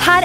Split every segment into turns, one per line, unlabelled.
her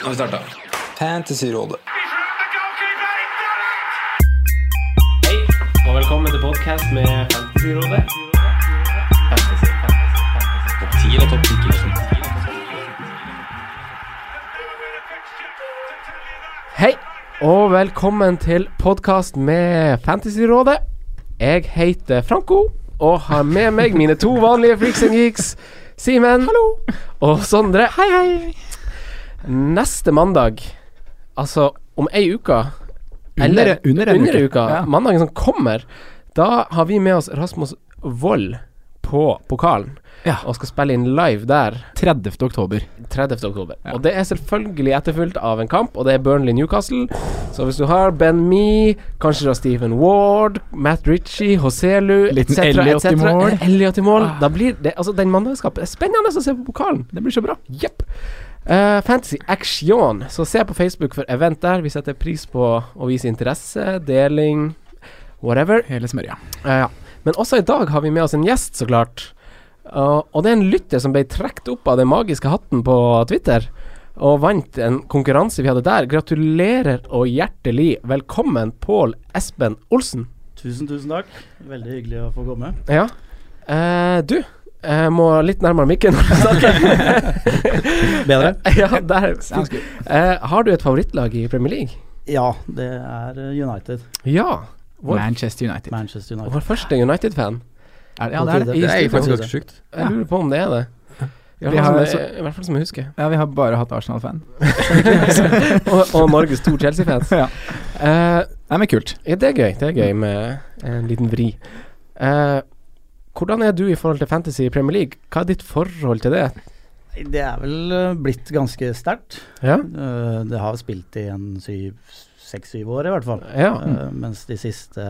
Nå har vi starta. Fantasyrådet.
Hei, og velkommen til podcast med Fantasyrådet. Topp 10 eller topp 10 Hei, og velkommen til podcast med Fantasyrådet. Jeg heter Franco, og har med meg mine to vanlige freaks and geeks, Simen og Sondre. Hei, hei. Neste mandag, altså om ei uke
Under, under en
under
uke.
uka,
Ja.
mandagen som kommer, da har vi med oss Rasmus Wold på pokalen.
Ja.
Og skal spille inn live der
30. oktober.
30. oktober. Og det er selvfølgelig etterfulgt av en kamp, og det er Burnley-Newcastle. Så hvis du har Ben Me, kanskje da Stephen Ward, Matt Ritchie, Hoselu
Liten
et cetera,
Elliot
et
i
cetera,
mål. Ah.
Elliot i mål. Da blir det, altså Den mandagskampen er spennende å se på pokalen.
Det blir så bra.
Jepp. Eh, Fantasy Action. Så se på Facebook for event der. Vi setter pris på å vise interesse, deling, whatever.
Hele smørja.
Eh, ja. Men også i dag har vi med oss en gjest, så klart. Eh, og det er en lytter som ble trukket opp av den magiske hatten på Twitter, og vant en konkurranse vi hadde der. Gratulerer og hjertelig velkommen, Pål Espen Olsen.
Tusen, tusen takk. Veldig hyggelig å få komme.
Ja. Eh, du, jeg må litt nærmere mikken når du snakker.
Bedre?
ja, der. Eh, har du et favorittlag i Premier League?
Ja, det er eh, United.
Ja. Vår,
Manchester United.
Manchester United.
vår første United-fan.
Er, det- ja, det er det.
Det
I
er
studio.
faktisk ganske
sjukt.
Jeg lurer på om det er det. I
Vi
hvert fall,
har-
som, jeg, i hvert fall som jeg husker.
Ja, vi har bare hatt Arsenal-fan.
og, og Norges to Chelsea-fans.
Ja.
Eh,
Nei, men kult.
ja, det er gøy. Det er gøy med en liten vri. Eh, hvordan er du i forhold til fantasy i Premier League? Hva er ditt forhold til det?
Det er vel eh, blitt ganske sterkt.
Ja.
Eh, Det har spilt i en seks-syv år, i hvert fall.
ja.
Eh, Mens de siste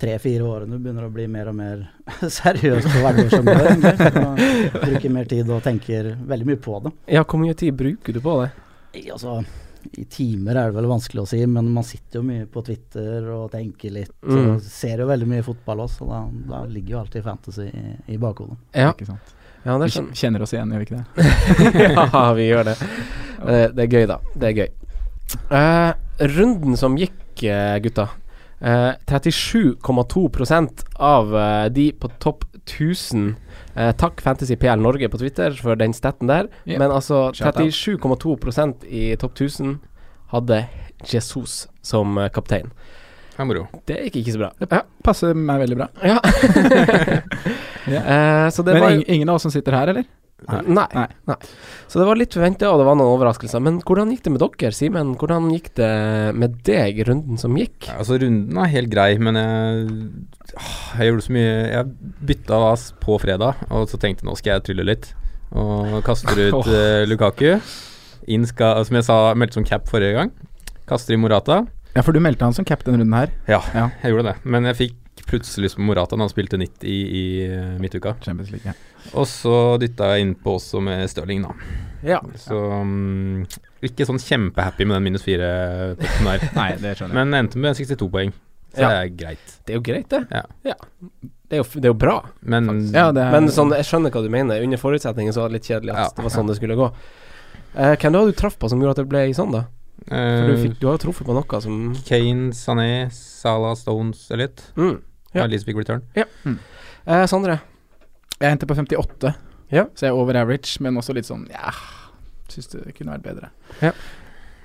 tre-fire årene begynner å bli mer og mer seriøst på hverdagen som går. egentlig. Så man Bruker mer tid og tenker veldig mye på det.
ja, hvor mye tid bruker du på det?
I- Altså, I timer er det vel vanskelig å si, men man sitter jo mye på Twitter og tenker litt.
Mm.
Og ser jo veldig mye fotball også, så da, da ligger jo alltid fantasy i, i bakhodet.
Ja,
Ikke sant?
ja
Vi
det sånn- skjønner
kjen- kjenner oss igjen, gjør vi ikke det?
ja, vi gjør det. Det, det er gøy, da. Det er gøy. Eh, runden som gikk, eh, gutta. Eh, 37,2 av eh, de på topp 1000 eh, Takk Fantasy PL Norge på Twitter for den staten der.
Ja.
Men altså
Shout out.
37,2 i topp 1000 hadde Jesus som eh, kaptein.
Det er moro.
Det gikk ikke så bra. Ja.
Passer meg veldig bra.
ja. Eh, så det
Men
var
ing- ingen av oss som sitter her, eller?
Nei.
Nei.
Nei. Så det var litt forventa, og det var noen overraskelser. Men hvordan gikk det med dere, Simen? Hvordan gikk det med deg i runden som gikk?
Ja, altså, runden er helt grei, men jeg, ah, jeg gjorde så mye Jeg bytta as på fredag, og så tenkte jeg nå skal jeg trylle litt. Og kaster ut eh, Lukaku. Inn skal, som jeg sa, meldte som cap forrige gang. Kaster i Morata.
Ja, for du meldte han som cap denne runden her.
Ja,
Ja.
jeg gjorde det. Men jeg fikk plutselig lyst på Morata da han spilte 90 i eh, midtuka.
Champions League. Ja.
Og så dytta jeg innpå også med Stirling, da.
Ja.
Så mm, ikke sånn kjempehappy med den minus fire-potten der.
Nei, det skjønner jeg.
Men endte med 62 poeng, så
Ja.
det er greit.
Det er jo greit, det.
Ja.
Det er jo, f- det er jo bra.
Men eh,
Ja, det er,
Men sånn, jeg skjønner hva du mener. Under forutsetningen så var det litt kjedelig at
Ja.
det var sånn det skulle gå. Eh, hvem det var du traff på som gjorde at det ble sånn, da? For du,
eh,
fikk, du har jo truffet på noe som
Kane, Sané, Salah, Stones, Elliot.
mm. Ja.
Ja. Leeds Big Return.
eh, Sondre.
Jeg endte på 58,
Ja.
så jeg er over average, men også litt sånn Ja, syns det kunne vært bedre.
Ja.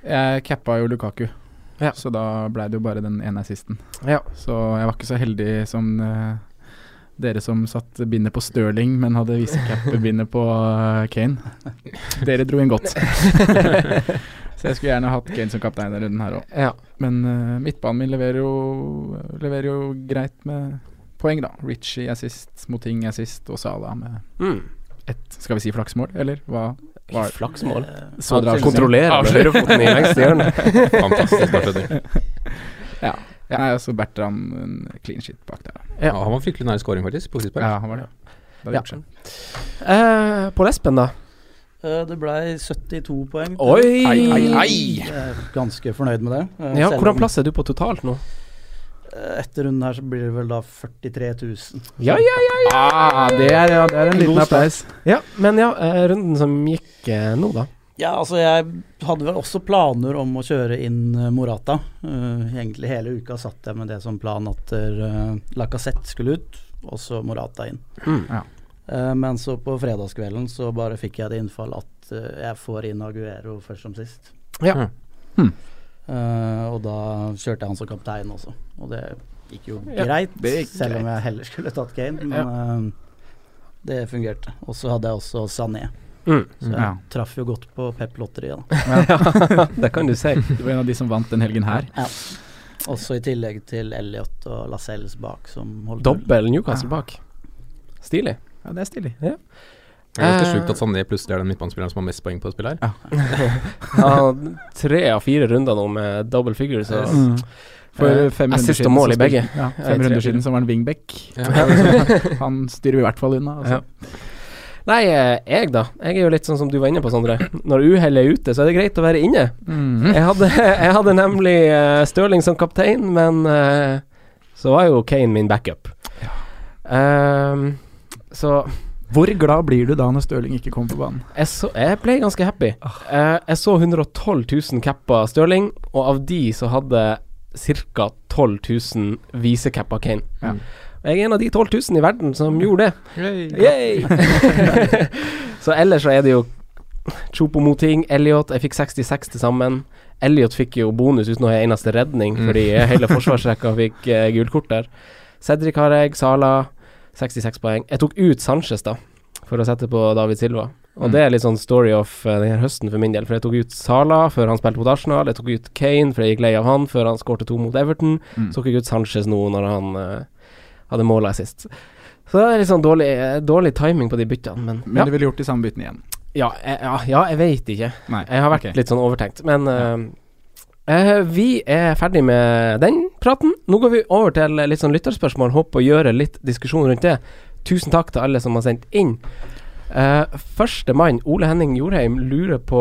Jeg cappa jo Lukaku, Så da ble det jo bare den ene assisten.
Ja.
Så jeg var ikke så heldig som eh, dere som satt bindet på Stirling, men hadde visecap-bindet på eh, Kane. Dere dro inn godt. så jeg skulle gjerne hatt Kane som kaptein denne runden her òg. Men eh, midtbanen min leverer jo, leverer jo greit med poeng, da. Richie assist, Moting assist og Salah med
Mm.
ett, skal vi si flaksmål, eller hva? hva er-
Flaksmål?
Så
Han
drastisk.
kontrollerer
Avslører.
høyrefoten i lengste hjørne.
Fantastisk avslutning.
ja. ja. Nei, altså Bertrand en clean shit bak der.
Ja. han var fryktelig nær scoring, faktisk, på frispark.
Ja, han var det. Det hadde
Ja.
gjort seg.
Eh, Pål Espen, da?
Eh, Det ble 72 poeng.
Oi! Ai, ai, ai!
Jeg er ganske fornøyd med det. Eh,
Ja,
selv
hvordan
om-
plass er du på totalt nå?
Eh, Etter runden her så blir det vel da 43 000.
Ja, ja, ja! ja.
Ah, det er, ja, det er en liten
God start.
applaus.
Ja, men ja, eh, runden som gikk eh, nå, da.
Ja, altså jeg hadde vel også planer om å kjøre inn eh, Morata. Eh, egentlig hele uka satt jeg med det som plan at uh, Lacassette skulle ut, og så Morata inn.
Mm.
Ja.
Eh, men så på fredagskvelden så bare fikk jeg det innfall at eh, jeg får inn Aguero først som sist.
Ja.
Hmm.
Eh, og da kjørte jeg han som kaptein også, og det gikk jo
Ja,
greit.
det gikk
selv om jeg heller skulle tatt Kane, men eh, det fungerte. Og så hadde jeg også Sané.
Mm.
Så jeg
Ja.
traff jo godt på Pep-lotteriet, da.
Ja, det kan du si.
Du var en av de som vant den helgen her.
Også i tillegg til Elliot og Lascelles bak, som holdt
Dobbel Newcastle bak. Stilig.
Ja, det er stilig.
Det er ganske
Eh.
sjukt at Sané plutselig er den midtbanespilleren som har mest poeng på et spill her.
Ja, tre av fire runder nå med double figures. Så.
For
Eh,
fem
assist
runder
og
siden
mål
så
i begge.
spilte- Ja,
Ja, i
fem
tre
runder
runder.
siden så var han wingback. Han styrer i hvert fall unna. Altså.
Ja. Nei, eh, jeg da. Jeg er jo litt sånn som du var inne på, Sondre. Når uhellet er ute, så er det greit å være inne.
Mhm.
Jeg hadde, jeg hadde nemlig eh, Stirling som kaptein, men eh, så var jo Kane min backup. Ehm, så
Hvor glad blir du da når Stirling ikke kommer på banen?
jeg, så, jeg ble ganske happy. Eh, jeg så 112 000 capper Stirling, og av de så hadde ca. 12 000 visecapper Kane.
Ja.
Og Jeg er en av de 12 000 i verden som gjorde det. Yay! så ellers så er det jo Chopo Moting, Elliot. Jeg fikk 66 til sammen. Elliot fikk jo bonus uten å ha en eneste redning,
Mm.
fordi hele forsvarsrekka fikk uh, gult kort der. Cedric har jeg, Sala 66 poeng. Jeg tok ut Sanchez, da, for å sette på David Silva. Og
Mm.
det er litt sånn story of eh, denne høsten for min del, for jeg tok ut Sala før han spilte mot Arsenal. Jeg tok ut Kane, for jeg gikk lei av han før han skårte to mot Everton.
Mm.
Så tok jeg ut Sanchez nå når han eh, hadde måla sist. Så det er litt sånn dårlig, eh, dårlig timing på de byttene, men,
Men
ja.
du ville gjort de samme byttene igjen.
Ja, jeg, ja, ja, jeg veit ikke.
Nei,
Jeg har vært
ok.
litt sånn overtenkt. Men eh, eh, vi er ferdig med den praten. Nå går vi over til litt sånn lytterspørsmål. Håper å gjøre litt diskusjon rundt det. Tusen takk til alle som har sendt inn. Uh, Førstemann, Ole Henning Jorheim, lurer på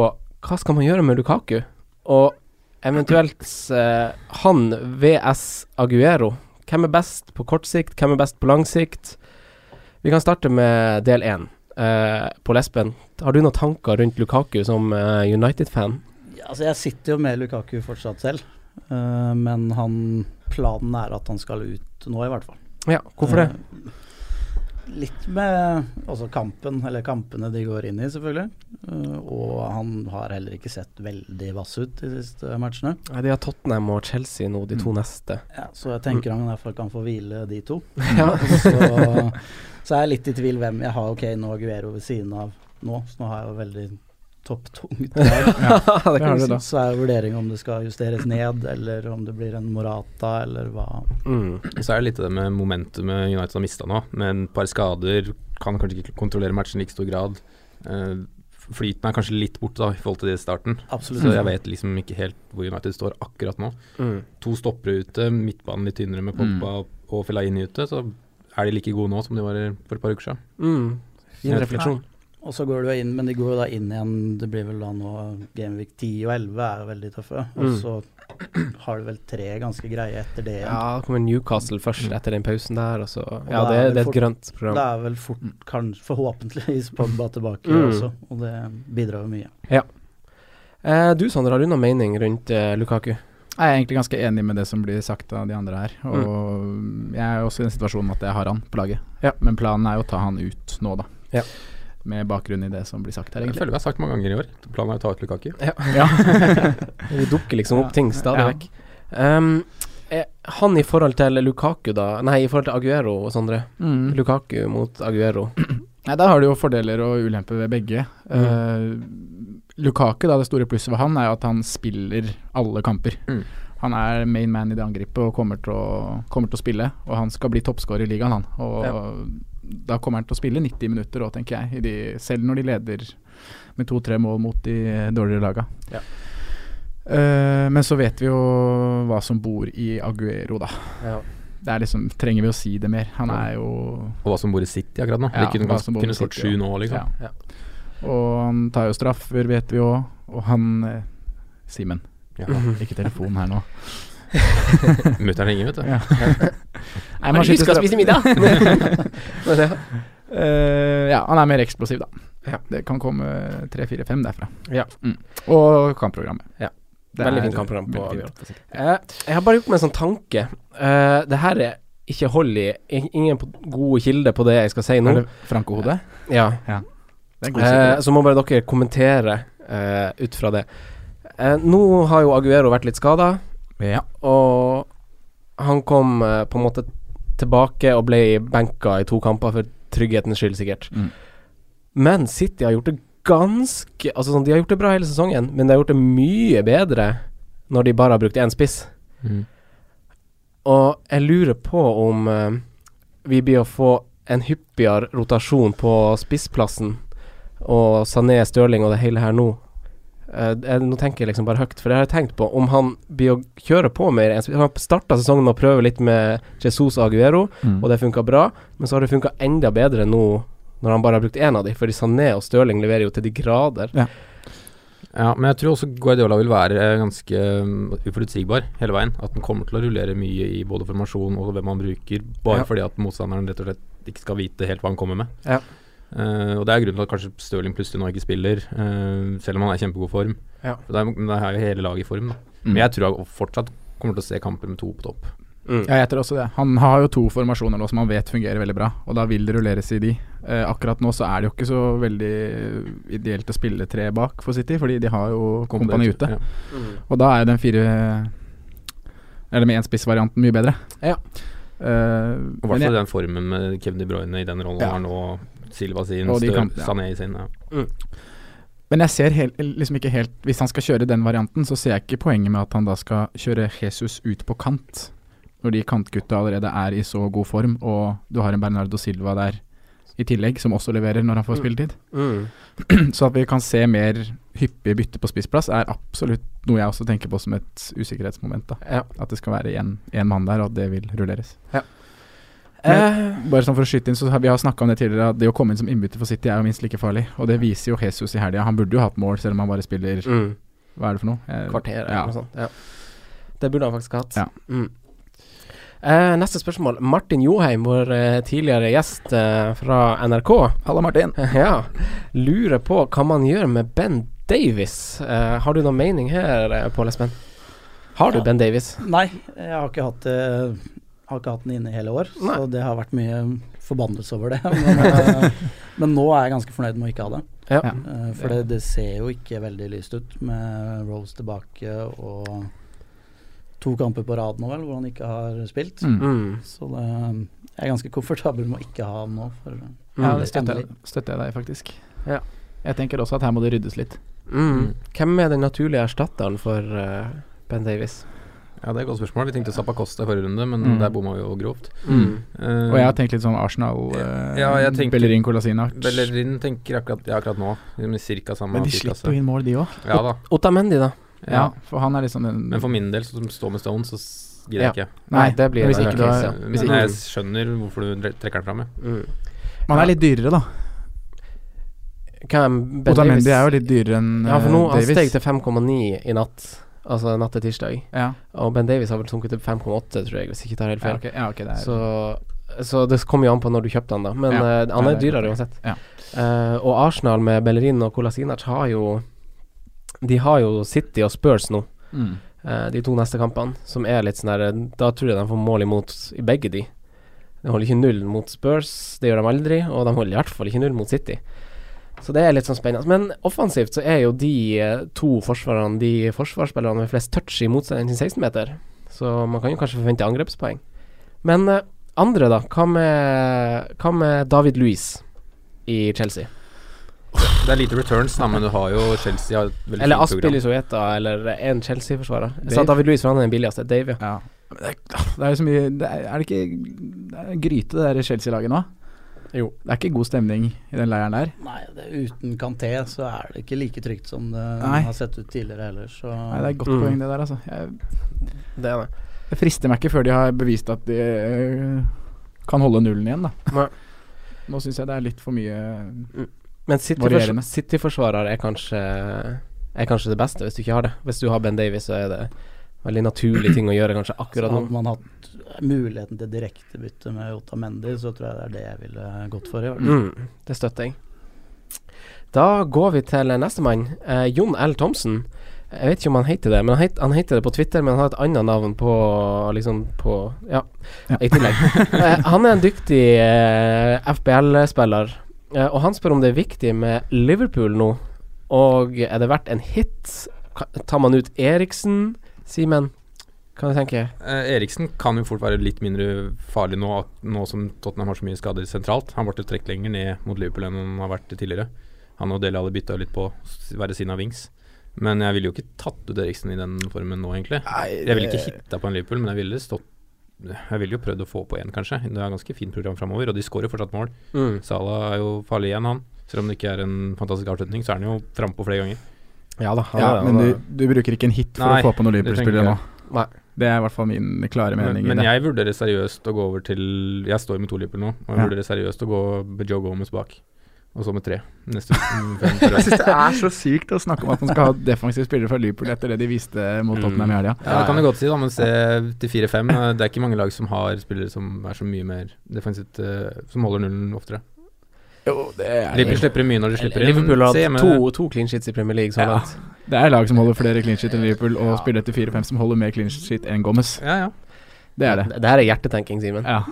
hva skal man gjøre med Lukaku? Og eventuelt eh, han VS Aguero. Hvem er best på kort sikt? Hvem er best på lang sikt? Vi kan starte med del én. eh, på Lesben, har du noen tanker rundt Lukaku som eh, United-fan?
Ja, altså jeg sitter jo med Lukaku fortsatt selv, eh, men han, planen er at han skal ut nå, i hvert fall.
Ja, hvorfor det?
Eh, Litt med også kampen, eller kampene de går inn i, selvfølgelig. Eh, og han har heller ikke sett veldig vass ut de siste matchene.
Nei, De har Tottenham og Chelsea nå, de to neste.
Ja, så jeg tenker han i hvert fall kan få hvile de to.
Ja.
Og Så, så er jeg litt i tvil hvem jeg har Kane og Aguero ved siden av nå, så nå har jeg jo veldig topptungt lag.
det
har du da.
Så er vurderinga om det skal justeres ned, eller om det blir en Morata, eller hva.
Mm.
Og så er det litt det med momentumet United har mista nå, med et par skader. Kan kanskje ikke kontrollere matchen i like stor grad. Eh, flyten er kanskje litt borte da i forhold til det i starten.
Absolutt.
Så jeg vet liksom ikke helt hvor United står akkurat nå.
Mm.
To stoppere ute, midtbanen litt tynnere med Pogba og Fellaini ute. Så er de like gode nå som de var for et par uker siden.
Mm. Fin
Jeg vet
refleksjon.
Og så går du jo inn, men de går jo da inn igjen. Det blir vel da nå Gameweek 10 og 11 er jo veldig tøffe. Og
Mm.
så har du vel tre ganske greie etter det igjen.
Ja, det kommer Newcastle først etter den pausen der, og så Ja,
da
det,
er det
det er
fort-
et grønt program.
Da er vel fort, kanskje, forhåpentligvis Pogba tilbake
Mm.
også, og det bidrar jo mye.
Eh, du Sander, har du noen mening rundt eh, Lukaku?
Jeg er egentlig ganske enig med det som blir sagt av de andre her. Og jeg er også i den situasjonen at jeg har han på laget.
Ja.
Men planen er jo å ta han ut nå, da.
Ja.
Med bakgrunn i det som blir sagt her,
Jeg
egentlig.
føler vi har sagt mange ganger i år. Planen er å ta ut Lukaku.
Ja.
Det dukker liksom opp ting stadig
Ja.
vekk. Ehm, eh, han i forhold til Lukaku, da Nei, i forhold til Aguero og Sondre.
Mm.
Lukaku mot Aguero.
Nei, Der har du jo fordeler og ulemper ved begge. Eh, Lukaku, da det store plusset ved han, er jo at han spiller alle kamper.
Mm.
Han er main man i det angrepet og kommer til å, kommer til å spille. Og han skal bli toppskårer i ligaen, han. Og da kommer han til å spille 90 minutter òg, tenker jeg. I de, selv når de leder med to-tre mål mot de dårligere laga.
Ja.
Eh, men så vet vi jo hva som bor i Aguero, da.
Ja.
Det er liksom, Trenger vi å si det mer? Han er jo
Og hva som bor i City akkurat nå. Ja, kunne
hva som
ganske-
bor
kunne
med
skåret
City,
sju
ja.
nå, liksom.
Ja. Og han tar jo straffer, vet vi òg. Og han eh, Simen.
Ja.
Ikke telefon her nå.
Mutter'n ringer, vet du.
Ja. Nei,
Har
man
du
skyter
huska å
straff-
spise middag? Men ja.
Eh, ja, han er mer eksplosiv, da.
Ja.
Det kan komme tre, fire, fem derfra.
Ja.
Mm. Og kampprogrammet.
Ja.
Det
Veldig
er
fint kampprogram på
veldig
Aguero.
fint.
Eh, jeg har bare gjort meg en sånn tanke. Eh, det her er ikke hold i. In- Ingen på- gode kilder på det jeg skal si
Er
nå. Eh,
det Franco-hodet?
Ja.
Det er god
Eh,
sikkerhet.
så må bare dere kommentere eh, ut fra det. Eh, nå har jo Aguero vært litt skada,
ja.
og han kom eh, på en måte tilbake og ble benka i to kamper for trygghetens skyld, sikkert.
Mm.
Men City har gjort det ganske Altså sånn, De har gjort det bra hele sesongen, men de har gjort det mye bedre når de bare har brukt én spiss.
Mhm.
Og jeg lurer på om eh, vi blir å få en hyppigere rotasjon på spissplassen, og Sané, Stirling og det hele her nå. Eh, jeg, nå tenker jeg liksom bare høyt, for det har jeg tenkt på. Om han blir å kjøre på mer enn spiss- Han starta sesongen med å prøve litt med Jesus og Aguero,
Mm.
og det funka bra, men så har det funka enda bedre nå når han bare har brukt én av de, fordi Sané og Stirling leverer jo til de grader.
Ja, men jeg tror også Guardiola vil være eh, ganske um, uforutsigbar hele veien. At den kommer til å rullere mye i både formasjon og hvem han bruker, bare
Ja.
fordi at motstanderen rett og slett ikke skal vite helt hva han kommer med.
Ja.
Eh, og det er grunnen til at kanskje Stirling plutselig nå ikke spiller, eh, selv om han er i kjempegod form.
Ja. Mm.
For det er, men det er jo hele laget i form, da. Men jeg tror han fortsatt kommer til å se kamper med to på topp.
Ja, jeg tror også det. Han har jo to formasjoner nå som han vet fungerer veldig bra, og da vil det rulleres i de. Eh, akkurat nå så er det jo ikke så veldig ideelt å spille tre bak for City, fordi de har jo Kompani ute.
Ja.
Og da er jo den fire Eller med én spissvarianten mye bedre.
Ja.
Eh,
Og i
men
hvert fall
jeg,
den formen med Kevin De Bruyne i den rollen
Ja.
han har nå, Silva sin,
Og de
Stør,
kampene, ja.
Sané sin. Ja.
men jeg ser helt, liksom ikke helt Hvis han skal kjøre den varianten, så ser jeg ikke poenget med at han da skal kjøre Jesus ut på kant, når de kantgutta allerede er i så god form, og du har en Bernardo Silva der i tillegg, som også leverer når han får
Mm.
spilletid. Mm. Så at vi kan se mer hyppige bytte på spissplass, er absolutt noe jeg også tenker på som et usikkerhetsmoment. da
Ja.
At det skal være én mann der, og at det vil rulleres.
Eh,
Bare sånn for å skyte inn, så har Vi har snakka om det tidligere, at det å komme inn som innbytter for City er jo minst like farlig. Og det viser jo Jesus i helga. Han burde jo hatt mål, selv om han bare spiller
mm.
Hva er det for noe? Eh,
kvarter eller
ja.
noe sånt. Ja. Det burde han faktisk hatt.
Ja.
Mm. Eh, neste spørsmål. Martin Joheim, vår eh, tidligere gjest eh, fra NRK,
Halla, Martin.
ja, lurer på hva man gjør med Ben Davies. Eh, har du noen mening her, eh, Pål Espen? Har du
Ja.
Ben Davies?
Nei, jeg har ikke hatt det har ikke hatt den inne i hele år, så det har vært mye forbannelse over det. Men, eh, men nå er jeg ganske fornøyd med å ikke ha det.
Ja.
Ja.
Eh, For det, det ser jo ikke veldig lyst ut med Rose tilbake og to kamper på rad nå, vel, hvor han ikke har spilt.
Mm.
Mm.
Så det, jeg er ganske komfortabel med å ikke ha ham nå. For,
Ja,
Mm.
det støtter, jeg- støtter jeg deg faktisk.
Ja.
Jeg tenker også at her må det ryddes litt.
Mm. Hvem er den naturlige erstatteren for eh, Ben Davies?
Ja, det er et godt spørsmål. Vi tenkte Zappacosta i forrige runde, men
Mm.
der bomma vi jo grovt.
Mm.
Eh,
Og jeg har tenkt litt sånn Arsenal, eh,
Ja, jeg tenker-
Bellerin Colasinac.
Bellerin tenker akkurat, ja, akkurat nå, med cirka samme
Men de
prisklasse.
slipper jo inn mål, de òg.
Ja da.
Otamendi, da?
Ja.
Ja, for han er liksom den
Men for min del, som står med Stone, så s- gidder jeg ikke.
Nei,
det blir
men hvis
det.
ikke du har-
Ja.
hvis
Men
ikke-
jeg skjønner hvorfor du dre- trekker den fram. jeg.
Mm.
Man er litt dyrere, da.
Hvem Ben
Otamendi
Davies?
er jo litt dyrere enn
Ja, for nå
eh,
han steg
Davies.
til 5,9 i natt, altså natt til tirsdag.
Ja,
Og Ben Davies har vel sunket til 5,8, tror jeg, hvis ikke jeg tar helt
ja,
feil.
ok, ja, ok, det er
så, så det kommer jo an på når du kjøpte han, da. Men
Ja.
eh, han
Ja,
er
det er
dyrere
godt.
uansett.
Ja.
Eh, og Arsenal med Bellerin og Kolasinac har jo De har jo City og Spurs nå,
mm.
eh, de to neste kampene, som er litt sånn der Da tror jeg de får mål imot i begge de. De holder ikke null mot Spurs, det gjør de aldri, og de holder i hvert fall ikke null mot City. Så det er litt sånn spennende. Men offensivt så er jo de eh, to forsvarerne de forsvarsspillerne med flest touch i motstanderen sin 16-meter. så man kan jo kanskje forvente angrepspoeng. Men eh, andre, da. Hva med, hva med David Louis i Chelsea?
Det er lite returns, da, men du har jo Chelsea har et veldig
Eller
fint
Aspil
program.
i Soeta, eller en Chelsea-forsvarer. Jeg sa
Dave.
David Louis, for han er den billigste. Dave, ja.
Det er jo så mye det er, er det ikke det er gryte, det der Chelsea-laget nå?
Jo.
Det er ikke god stemning i den leiren der.
Nei, det, uten Kanté så er det ikke like trygt som det
Nei.
har sett ut tidligere heller, så
Nei, det er et godt
Mm.
poeng, det der, altså. Jeg,
Det er det.
det frister meg ikke før de har bevist at de øh, kan holde nullen igjen, da.
Nei.
Nå syns jeg det er litt for mye
Men City-
Varierende.
City-forsvarer er kanskje Er kanskje det beste, hvis du ikke har det. Hvis du har Ben Davies, så er det veldig naturlig ting å gjøre kanskje
Så
akkurat nå.
hadde man hatt muligheten til direktebytte med Otta Mendy, så tror jeg det er det jeg ville gått for. i hvert fall.
Mm, det støtter jeg. Da går vi til nestemann. Eh, Jon L. Thomsen. Jeg vet ikke om han heter det, men han, het, han heter det på Twitter, men han har et annet navn på liksom på Ja,
Ja.
i tillegg. eh, han er en dyktig eh, FBL-spiller, eh, og han spør om det er viktig med Liverpool nå. Og er det verdt en hit? Ka- Tar man ut Eriksen? Simen, hva du tenker du?
Eh, Eriksen kan jo fort være litt mindre farlig nå, at- nå som Tottenham har så mye skader sentralt. Han ble trukket lenger ned mot Liverpool enn han har vært tidligere. Han og Dele Alli bytta litt på s- være siden av Wings. Men jeg ville jo ikke tatt ut Eriksen i den formen nå, egentlig.
eh,
Jeg ville ikke hitta på en Liverpool, men jeg ville stått jeg ville jo prøvd å få på én, kanskje. Det er ganske fint program framover, og de skårer fortsatt mål.
Mm.
Salah er jo farlig igjen, han. Selv om det ikke er en fantastisk avslutning, så er han jo frampå flere ganger.
Ja da. han
ja,
er-
Men
han er-
du, du bruker ikke en hit for
altså. Nei,
å få på noen
det trenger
Liverpool-spillere nå?
Nei.
Det er i hvert fall min klare
Men,
mening. i
men
det.
jeg vurderer seriøst å gå over til Jeg står med to Liverpool nå, og jeg
Ja.
vurderer seriøst å gå med Joe Gomez bak. Og så med tre. Neste mm, fem, tre.
Jeg syns det er så sykt å snakke om at man skal ha defensive spillere fra Liverpool etter det de viste mot Tottenham i helga.
Mm. Ja, det kan du godt si, da, men se til fire-fem. eh, Det er ikke mange lag som har spillere som er så mye mer defensivt eh, Som holder nullen oftere. Liverpool slipper inn mye når de slipper inn.
Liverpool har
Se
hatt
med-
to, to clean sheets i Premier League så
Ja.
langt.
Det er lag som holder flere clean sheet enn Liverpool, og spiller etter 4-5 som holder mer clean sheet enn Gomez.
Ja, ja.
Det er det.
Det her er hjertetenking, Simen.
Ja.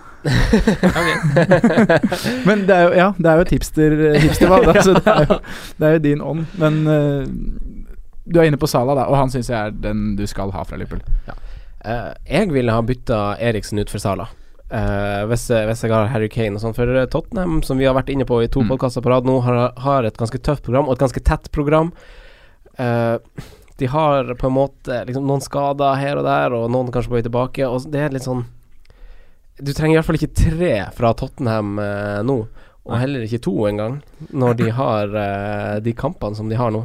Men det er jo, ja, det er jo et hipster, hipstervalg, da, så det er, jo, det er jo din ånd. Men eh, du er inne på Salah, da, og han syns jeg er den du skal ha fra Liverpool.
Eh, jeg ville ha bytta Eriksen ut for Sala. Eh, hvis, jeg- hvis jeg har Harry Kane og sånn. For eh, Tottenham, som vi har vært inne på i to
Mm.
podkaster på rad nå, har, har et ganske tøft program, og et ganske tett program. Eh, de har på en måte liksom, noen skader her og der, og noen kanskje på vei tilbake, og det er litt sånn Du trenger i hvert fall ikke tre fra Tottenham eh, nå, og
Nei.
heller ikke to engang, når de har eh, de kampene som de har nå.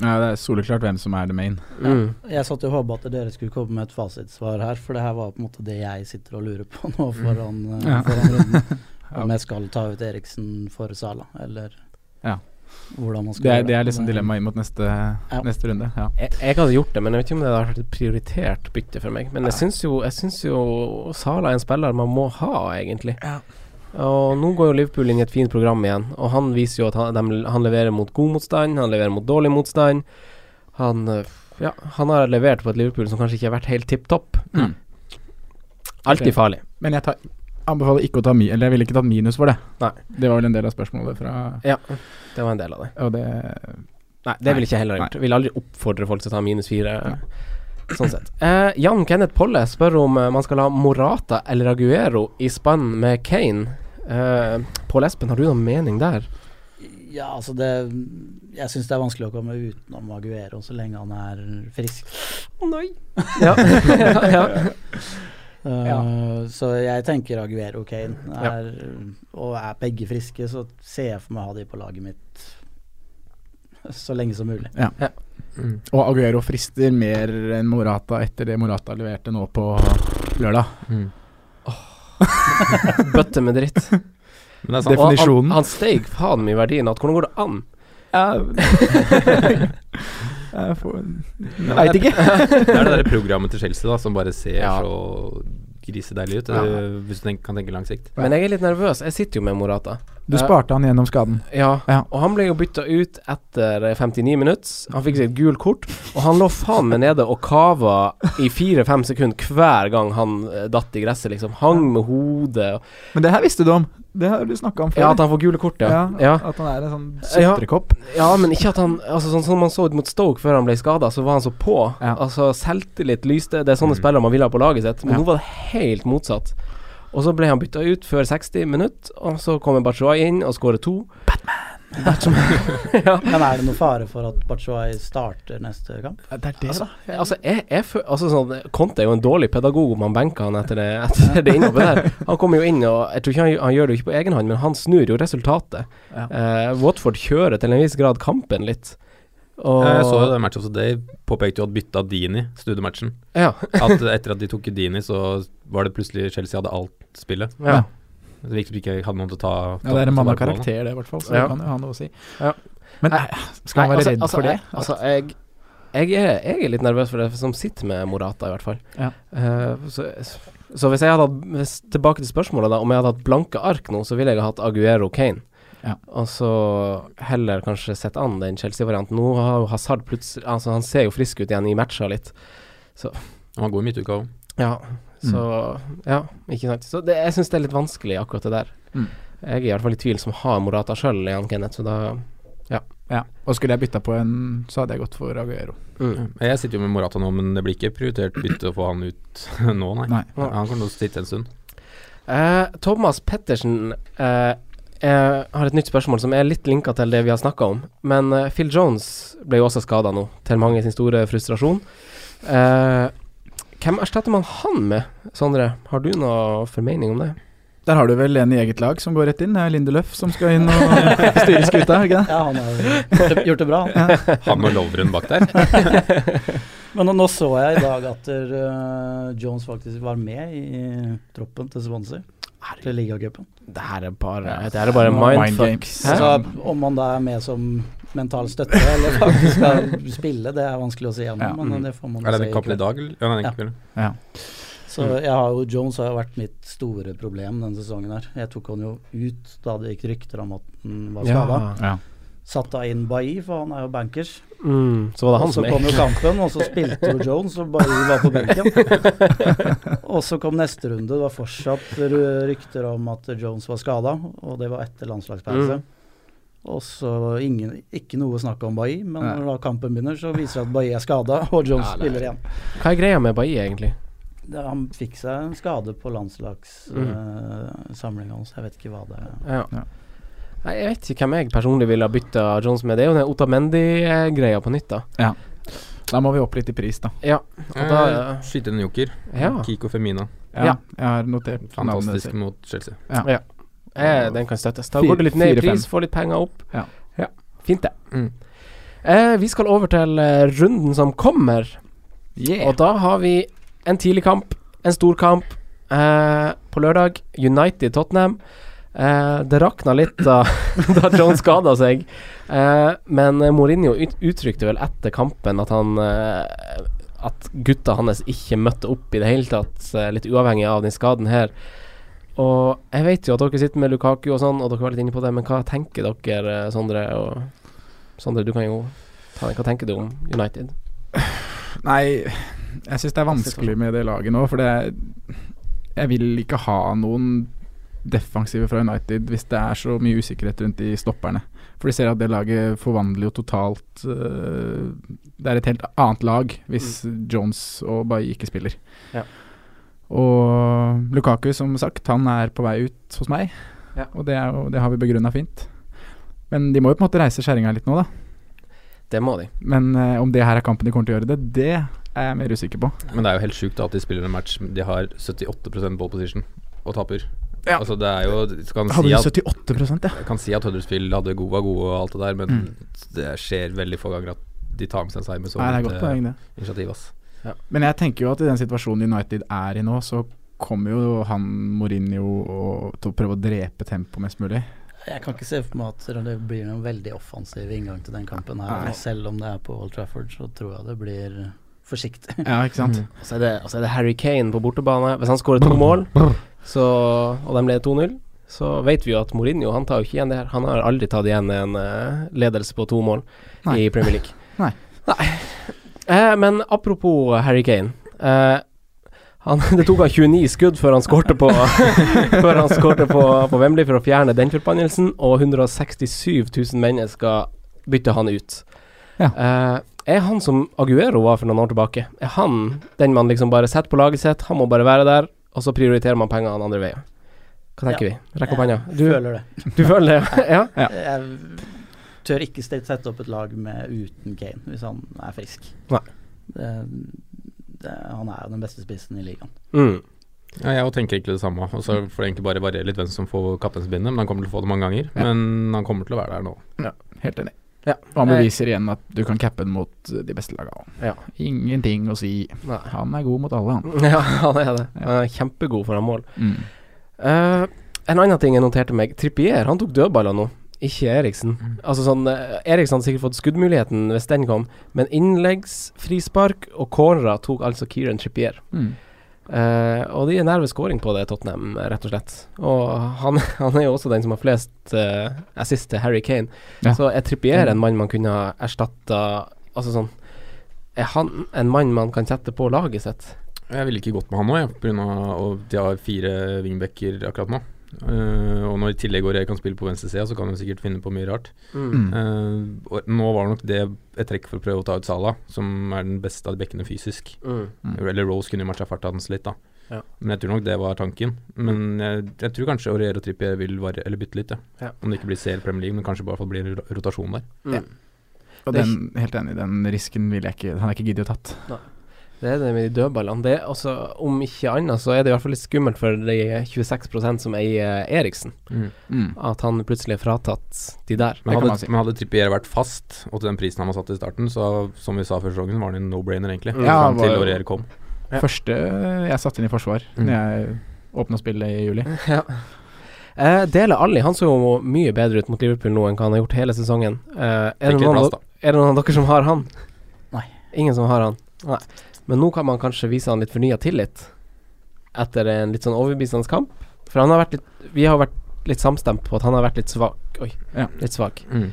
Ja, det er soleklart hvem som er the main.
Mm.
Jeg satt jo og håpa at dere skulle komme med et fasitsvar her, for det her var på en måte det jeg sitter og lurer på nå foran, eh,
Mm. Ja.
foran runden.
Ja.
Om jeg skal ta ut Eriksen for Sala, eller
Ja.
hvordan man skal
Det er,
gjøre
det er liksom
Men-
dilemmaet inn mot neste, neste runde. Ja.
Jeg, jeg hadde gjort det, men jeg vet ikke om det hadde vært et prioritert bytte for meg. Men jeg syns jo, jeg syns jo Sala er en spiller man må ha, egentlig. Og nå går jo Liverpool inn i et fint program igjen, og han viser jo at han, dem- han leverer mot god motstand, han leverer mot dårlig motstand. Han øh, ja, han har levert på et Liverpool som kanskje ikke har vært helt tipp topp.
Mm.
Alltid
Ok.
farlig.
Men jeg tar, anbefaler ikke å ta mi, Eller jeg ville ikke tatt minus for det.
Nei.
Det var vel en del av spørsmålet fra
Ja, det var en del av det.
Og det
Nei, det ville ikke jeg heller gjort. Vil aldri oppfordre folk til å ta minus fire. Sånn sett. Eh, Jan Kenneth Polle spør om eh, man skal ha Morata eller Aguero i spann med Kane. Eh, Pål Espen, har du noen mening der?
Ja, altså det Jeg syns det er vanskelig å komme utenom Aguero så lenge han er frisk.
Nei. Ja. ja.
Uh,
Ja.
Så jeg tenker Aguero og Kane er, Og er begge friske, så ser jeg for meg å ha de på laget mitt så lenge som mulig.
Mm.
Og Aguero frister mer enn Morata etter det Morata leverte nå på lørdag.
Mm.
Bøtte med dritt.
Men det er
Og
sant.
Definisjonen.
Han, han steg faen meg i verdien. At hvordan går det an?
Jeg får
Ja,
Veit
det er-
ikke.
Det er det der programmet til Chelsea da, som bare ser
Ja.
så grisedeilig ut,
Ja.
eh, hvis du tenk, kan tenke lang sikt.
Men jeg er litt nervøs. Jeg sitter jo med Morata.
Du sparte han gjennom skaden.
Ja. og han ble jo bytta ut etter 59 minutter. Han fikk seg et gult kort, og han lå faen meg nede og kava i fire-fem sekunder hver gang han eh, datt i gresset, liksom. Hang med hodet.
Men det her visste du om. Det har du snakka om før.
Ja, at han får gule kort, ja.
Ja,
Ja.
At han er en sånn
Ja.
sutrekopp.
Ja, men ikke at han Altså Sånn som man så ut mot Stoke før han ble skada, så var han så på. Altså Selvtillit lyste. Det er sånne spillere man vil ha på laget sitt, men
Mm. Ja.
nå var det helt motsatt. Og så ble han bytta ut før 60 minutter, og så kommer Batshuayi inn og skårer to.
Men er det noe fare for at Batshuayi starter neste kamp?
Det er det,
altså,
da. Altså, jeg, jeg føl- altså sånn, Conte er jo en dårlig pedagog om han benker han etter det, etter det innhoppet der. Han kommer jo inn, og jeg tror ikke han, han gjør det jo ikke på egen hånd, men han snur jo resultatet.
Ja.
Eh, Watford kjører til en viss grad kampen litt. Og-
Jeg så jo det matchet også. De påpekte jo at bytta Dini, studiematchen.
Ja.
at etter at de tok ut Dini, så var det plutselig Chelsea hadde alt spillet.
Ja.
Det er viktig at de ikke hadde noen til å ta
Ja, det er en
ta
mann av
vare på ballen.
karakter, det, i hvert fall. Så
Ja.
det kan jo ha noe å si.
Ja.
Men eh, skal
Nei,
man være
altså-
redd
altså,
for det?
Jeg, altså, jeg, jeg, er, jeg er litt nervøs for det som sitter med Morata, i hvert fall.
Ja.
Eh, så, så hvis jeg hadde hatt hvis, Tilbake til spørsmålet, da. Om jeg hadde hatt blanke ark nå, så ville jeg ha hatt Aguero Kane.
Ja.
Og så heller kanskje sett an den Chelsea-varianten. Nå har jo Hazard plutselig Altså, han ser jo frisk ut igjen i matcher litt.
Han var god i midtuka òg.
Ja, så Ja, ikke sant. Så det, jeg syns det er litt vanskelig, akkurat det der.
Mm.
Jeg er i hvert fall i tvil, som har Morata sjøl igjen, Kenneth, så da
Ja. Og skulle jeg bytta på en, så hadde jeg gått for Aguero.
mm.
Jeg sitter jo med Morata nå, men det blir ikke prioritert bytte å få han ut nå, nei.
Nei.
Han kommer til å sitte en stund.
Eh, Thomas Pettersen eh, eh, har et nytt spørsmål som er litt linka til det vi har snakka om. Men eh, Phil Jones ble jo også skada nå, til mange sin store frustrasjon. Eh, hvem erstatter man han med, Sondre? Har du noe formening om det?
Der har du vel en i eget lag som går rett inn. Det er Lindeløf som skal inn og styre skuta, er det ikke det?
Ja, han har jo gjort det- gjort det bra. han.
Han og Lovren bak der.
Men nå- nå så jeg i dag at eh, Jones faktisk var med i troppen til Swansea. Til ligacupen.
Det her er bare, det her er bare mindfuck.
games.
Hæ?
Så om han da er med som mental støtte eller faktisk skal spille, det er vanskelig å si ennå,
Ja. Mm.
men det får man
Er det
se.
den
i
kampen i
kveld.
dag, Mm. eller? Ja, nei, den
Ja.
kampen.
Så jeg har jo, Jones har jo vært mitt store problem denne sesongen her. Jeg tok han jo ut da det gikk rykter om at han var skada.
Ja.
Satt da inn Bailly, for han er jo bankers.
Mm, så var det
Og
han
så
som
kom jo
gikk.
kampen, og så spilte jo Jones, og Bailly var på benken. Og så kom neste runde. Det var fortsatt ru- rykter om at Jones var skada, og det var etter landslagspause. Og så ingen, ikke noe snakk om Bailly, men
Nei.
når da kampen begynner, så viser det at Bailly er skada, og
Ja, det
Jones
er-
spiller igjen.
Hva er greia med Bailly, egentlig?
Det- Han fikk seg en skade på Mm. landslagssamlinga hans, jeg vet ikke hva det er.
Ja.
Ja.
Nei, jeg vet ikke hvem jeg personlig ville ha bytta Jones med. Det er jo den Otamendi-greia på nytt, da.
Da må vi opp litt i pris, da.
Og da
Eh, Skyter inn en joker.
Ja.
Kiko Femina.
Ja,
Ja.
Jeg har notert navnet
Fantastisk
sitt.
mot Chelsea.
Eh, den kan støttes. Da
Fire-
går det litt ned i
fire,
pris,
fem.
får litt penger opp.
Ja.
Fint, det.
Mm.
Eh, vi skal over til eh, runden som kommer, og da har vi en tidlig kamp, en stor kamp. Eh, på lørdag, United-Tottenham. Eh, det rakna litt da, da Jones skada seg, eh, men eh, Mourinho ut, uttrykte vel etter kampen at han eh, At gutta hans ikke møtte opp i det hele tatt, eh, litt uavhengig av den skaden her. Og jeg vet jo at dere sitter med Lukaku og sånn, og dere var litt inne på det, men hva tenker dere, eh, Sondre? Og Sondre, du kan jo ta Hva tenker du om United?
Nei, jeg syns det er vanskelig med det laget nå, for det er Jeg vil ikke ha noen defensive fra United hvis det er så mye usikkerhet rundt de stopperne. For de ser at det laget forvandler jo totalt øh, Det er et helt annet lag hvis Jones og Bailly ikke spiller.
Mm. Ja.
Og Lukaku, som sagt, han er på vei ut hos meg,
Ja.
og det, er, jo- det har vi begrunna fint. Men de må jo på en måte reise skjæringa litt nå, da.
Det må de.
Men eh, om det her er kampen de kommer til å gjøre det, det er jeg mer usikker på.
Men det er jo helt sjukt da, at de spiller en match De har 78 ball position og taper.
Ja.
Altså det er jo du kan si,
Hadde
at,
du 78 ja.
jeg kan si at Huddersfield hadde gode, var gode og alt det der, men
Mm.
det skjer veldig få ganger at de tar med seg en seier med så eh,
Nei, det er
lite
godt poeng, det.
initiativ. Ass.
Men jeg tenker jo at i den situasjonen United er i nå, så kommer jo han Mourinho og, til å prøve å drepe tempoet mest mulig.
Jeg kan ikke se for meg at det blir en veldig offensiv inngang til den kampen her.
Nei.
og Selv om det er på Old Trafford, så tror jeg det blir forsiktig.
Ja, ikke sant?
Og så er det, og så er det Harry Kane på bortebane. Hvis han skårer to mål, så, og de leder 2-0, så vet vi jo at Mourinho han tar jo ikke igjen det her. Han har aldri tatt igjen en eh, ledelse på to mål
Nei.
i Premier League.
Nei.
Nei. Eh, men apropos Harry Kane. Eh, han, det tok han 29 skudd før han skårte på, før han skårte på, på Wembley for å fjerne den forbannelsen, og 167 000 mennesker bytter han ut. Eh, er han som Aguero var for noen år tilbake? Er han den man liksom bare setter på laget sitt, han må bare være der, og så prioriterer man pengene andre veien? Hva tenker
Ja.
vi? Rekk opp hånda.
Jeg føler det.
Du føler det? ja?
Jeg tør ikke ste- sette opp et lag med uten Kane, hvis han er frisk.
Nei.
Det, det, han er jo den beste spissen i ligaen.
Ja, jeg også tenker egentlig det samme. Og
Mm.
så får det egentlig bare variere litt hvem som får kapteinsbindet, men han kommer til å få det mange ganger.
Ja.
Men han kommer til å være der nå.
Helt enig.
Ja.
Og han beviser igjen at du kan cappe den mot eh, de beste lagene.
Ja.
Ingenting å si.
Nei.
Han er god mot alle, han.
ja, han er det. Han er kjempegod foran mål.
Mm.
Eh, en annen ting jeg noterte meg, Trippier han tok dødballer nå, ikke Eriksen. Altså sånn, eh, Eriksen hadde sikkert fått skuddmuligheten hvis den kom, men innleggs, frispark og cornerer tok altså Kieran Trippier.
Mm.
Eh, og de er nær ved scoring på det, Tottenham, eh, rett og slett. Og han, han er jo også den som har flest eh, assist til Harry Kane.
Ja.
Så er Trippier en mann man kunne ha erstatta Altså sånn Er han en mann man kan sette på laget sitt?
Jeg ville ikke gått med han nå, jeg, pga. at de har fire wingbacker akkurat nå. Eh, og når i tillegg Aurier kan spille på venstresida, så kan hun sikkert finne på mye rart.
Mm.
Mm.
Eh, og nå var nok det et trekk for å prøve å ta ut Salah, som er den beste av de bekkene fysisk.
Mm.
Eller Rose kunne jo matcha farta hans litt, da.
Ja.
Men jeg tror nok det var tanken. Men jeg, jeg tror kanskje Aurier og Trippier vil varie, eller bytte litt,
Ja.
Om det ikke blir CL Premier League, men kanskje bare i hvert fall blir en ro- rotasjon der.
Mm.
Ja. Og
Det er
den, helt enig, den risken vil jeg ikke Den har jeg ikke giddet å tatt.
Det er det med de dødballene. Det er også, om ikke annet, så er det i hvert fall litt skummelt for de 26 som eier eh, Eriksen.
Mm.
At han plutselig er fratatt de der.
Men
Det kan
hadde,
man si.
men hadde Trippier vært fast, og til den prisen han var satt i starten, så som vi sa før sesongen, var det en no-brainer, egentlig.
Ja,
Fram
var
til
jo-
Aurier kom.
Ja.
Første jeg satte inn i forsvar
Mm.
Når jeg åpna spillet i juli.
Ja. Eh, Dele Alli han så jo mye bedre ut mot Liverpool nå enn hva han har gjort hele sesongen. Eh, er, det
Fikk litt
noen, av-
plass, da.
er det noen av dere som har han?
Nei.
Ingen som har han? Nei. Men nå kan man kanskje vise han litt fornya tillit etter en litt sånn overbevisende kamp. For han har vært litt, vi har vært litt samstemt på at han har vært litt svak. Oi,
Ja.
litt svak.
Mm.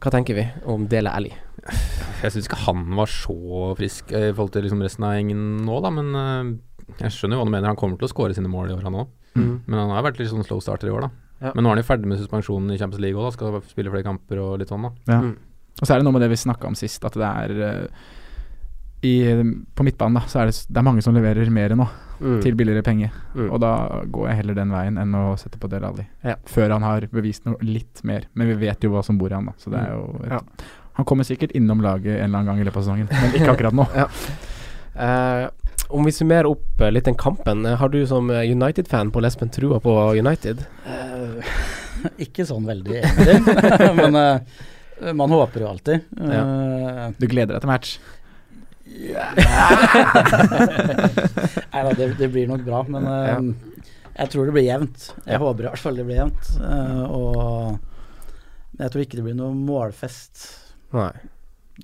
Hva tenker vi om Dele Alli?
Jeg syns ikke han var så frisk eh, i forhold til liksom resten av gjengen nå, da, men eh, jeg skjønner jo hva du mener. Han kommer til å skåre sine mål i år, han òg.
Mm.
Men han har vært litt sånn slow starter i år, da.
Ja.
Men nå er han jo ferdig med suspensjonen i Champions League òg, skal spille flere kamper og litt sånn, da.
Ja.
Mm.
Og så er det noe med det vi snakka om sist, at det er eh, i, På midtbanen da, så er det, s- det er mange som leverer mer nå,
Mm.
til billigere penger.
Mm.
Og da går jeg heller den veien enn å sette på Del Alli.
Ja.
Før han har bevist noe litt mer. Men vi vet jo hva som bor i han, da. Så det er jo et,
Mm. Ja.
Han kommer sikkert innom laget en eller annen gang i løpet av sesongen, men ikke akkurat nå.
Eh, om vi summerer opp eh, litt den kampen, eh, har du som eh, United-fan på Lesben trua på United?
Eh, ikke sånn veldig, egentlig. Men eh, man håper jo alltid. Eh,
Du gleder deg til match.
Nei da, det, det blir nok bra, men eh, jeg tror det blir jevnt. Jeg håper i hvert fall det blir jevnt. eh, og men jeg tror ikke det blir noe målfest.
Nei.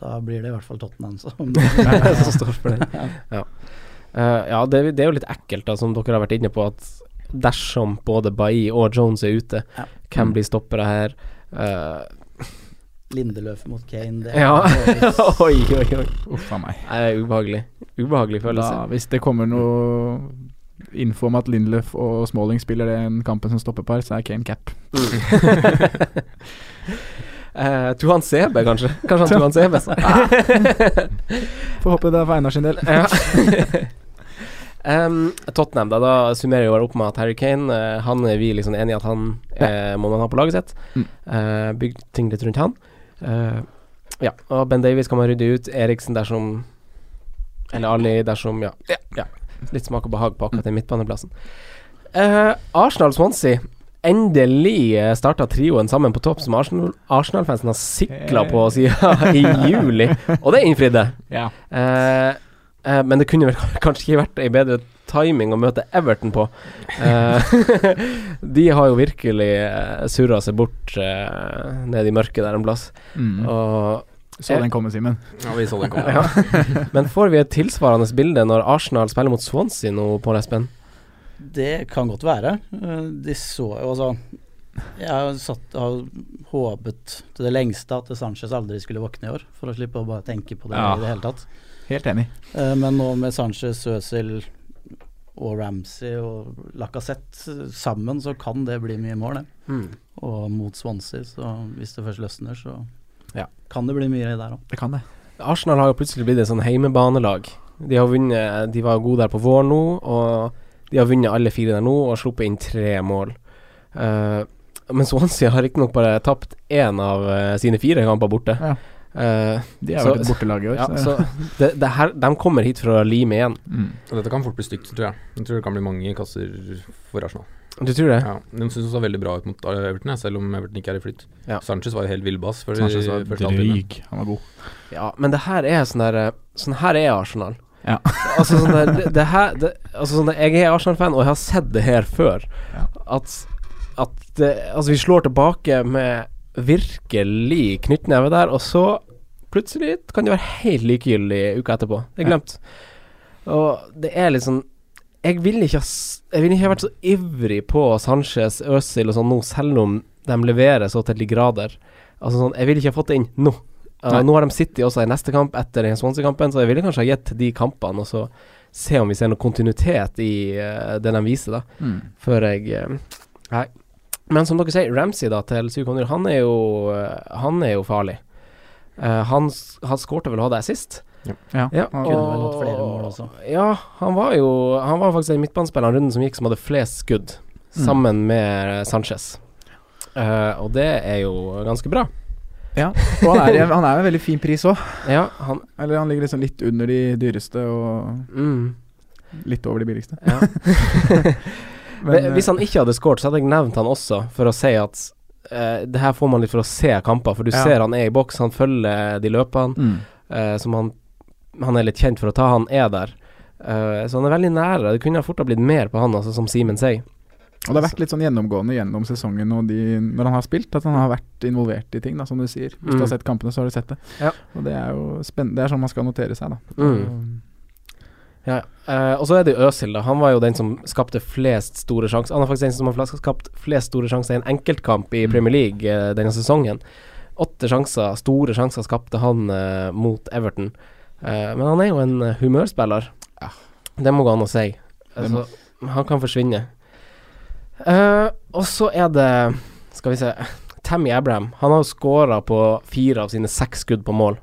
Da blir det i hvert fall Tottenham som
Som står for det. Ja, Eh, ja det, det er jo litt ekkelt, da, som dere har vært inne på, at dersom både Bailly og Jones er ute,
Ja.
hvem blir stoppere her? Eh,
Lindeløf mot Kane. Det
ja. oi, oi, oi.
Uff a meg.
Det er ubehagelig. Ubehagelig følelse.
Da, hvis det kommer noe info om at Lindløf og Smalling spiller den kampen som stoppepar, så er Kane cap.
Eh, Tuan Sebe, kanskje? Kanskje han Tuan Sebe? sa-
Får håpe det er for Einar sin del.
Ja. Em, Tottenham, da, da summerer vi bare opp med at Harry Kane eh, Han er vi liksom enige i at han eh, må man ha på laget sitt.
Mm.
Eh, bygg ting litt rundt han. Eh, ja, og Ben Davies kan man rydde ut. Eriksen dersom Eller Ali dersom, ja. ja. Litt smak og behag på akkurat den midtbaneplassen. Eh, Arsenal-Swansea. Endelig starta trioen sammen på topp, som Arsenal- Arsenal-fansen har sikla på siden i juli. Og det innfridde.
Ja.
Eh, eh, men det kunne vel kanskje ikke vært ei bedre timing å møte Everton på. Eh, de har jo virkelig uh, surra seg bort eh, ned i mørket der en plass.
Mm.
Og,
Så den komme, Simen.
Ja, vi så den komme.
ja. Men får vi et tilsvarende bilde når Arsenal spiller mot Swansea nå, Pål Espen?
Det kan godt være. Eh, De så jo altså Jeg har satt, har håpet til det lengste at Sanchez aldri skulle våkne i år, for å slippe å bare tenke på det
Ja.
i det hele tatt.
Helt enig.
Eh, Men nå med Sanchez, Øzil og Ramsey og Lacassette sammen, så kan det bli mye mål, det.
Mm.
Og mot Swansea, så hvis det først løsner, så
Ja.
kan det bli mye der òg.
Det kan det.
Arsenal har jo plutselig blitt et sånn heimebanelag. De har vunnet De var gode der på våren nå, og de har vunnet alle fire der nå og sluppet inn tre mål. Eh, men Swansea har riktignok bare tapt én av eh, sine fire kamper borte.
Ja.
Eh,
De har
så-
vært et bortelag i år.
Ja, så
så-
det, det her, de kommer hit for å lime igjen.
Mm.
Og dette kan fort bli stygt, tror jeg. Jeg tror det kan bli mange kasser for Arsenal.
Du tror det?
Ja, de syns det så veldig bra ut mot eh, Everton, jeg, selv om Everton ikke er i flyt.
Ja.
Sanchez var jo helt villbass. for-
Sanchez var
første halvtime.
dryg. Han var god.
Ja, men det her er sånn der eh, Sånn her er Arsenal.
Ja.
altså sånn der, det, det her det, Altså sånn der, Jeg er Arsenal-fan, og jeg har sett det her før.
Ja.
At, at det, Altså, vi slår tilbake med virkelig knyttneve der, og så plutselig kan det være helt likegyldig uka etterpå. Det er
Ja.
glemt. Og det er litt sånn jeg ville ikke, ha s- jeg ville ikke ha vært så ivrig på Sanchez, Øzil og sånn nå, selv om de leverer så til de grader. Altså sånn, Jeg ville ikke ha fått det inn nå. Uh,
Nei.
nå har de City også i neste kamp etter den Swansea-kampen, så jeg ville kanskje ha gitt de kampene og så se om vi ser noe kontinuitet i eh, det de viser, da,
Mm.
før jeg eh, Nei. Men som dere sier, Ramsey da til Sukonur, han er jo eh, Han er jo farlig. Eh, han, s- han skårte vel å ha det sist?
Ja,
Ja,
han-
Kunne vel hatt flere mål også.
Ja, han var jo Han var faktisk den midtbanespilleren runden som gikk som hadde flest skudd,
Mm.
sammen med eh, Sanchez. Eh, og det er jo ganske bra.
ja. Og han er, han er jo en veldig fin pris òg.
Ja, han
Eller han ligger liksom litt under de dyreste og
mm,
litt over de billigste.
ja.
Men,
eh,
eh,
Hvis han ikke hadde skåret, så hadde jeg nevnt han også, for å si at eh, det her får man litt for å se kamper, for du
Ja.
ser han er i boks, han følger de løpene
mm.
eh, som han, han er litt kjent for å ta, han er der. Eh, så han er veldig nære. Det kunne fort ha blitt mer på han, altså, som Simen sier.
Og det har vært litt sånn gjennomgående gjennom sesongen og de, når han har spilt, at han har vært involvert i ting, da, som du sier. Hvis du
Mm.
har sett kampene, så har du sett det.
Ja.
Og det er jo spennende. Det er sånn man skal notere seg, da.
Mm. Ja, eh, og så er det jo Øzil, da. Han var jo den som skapte flest store sjanser. Han er faktisk den som har flas- skapt flest store sjanser i en enkeltkamp i
Mm.
Premier League eh, denne sesongen. Åtte sjanser, store sjanser, skapte han eh, mot Everton. Eh, men han er jo en eh, humørspiller.
Ja.
Det må gå an å si. Altså, han kan forsvinne. Eh, og så er det Skal vi se Tammy Abraham. Han har jo skåra på fire av sine seks skudd på mål.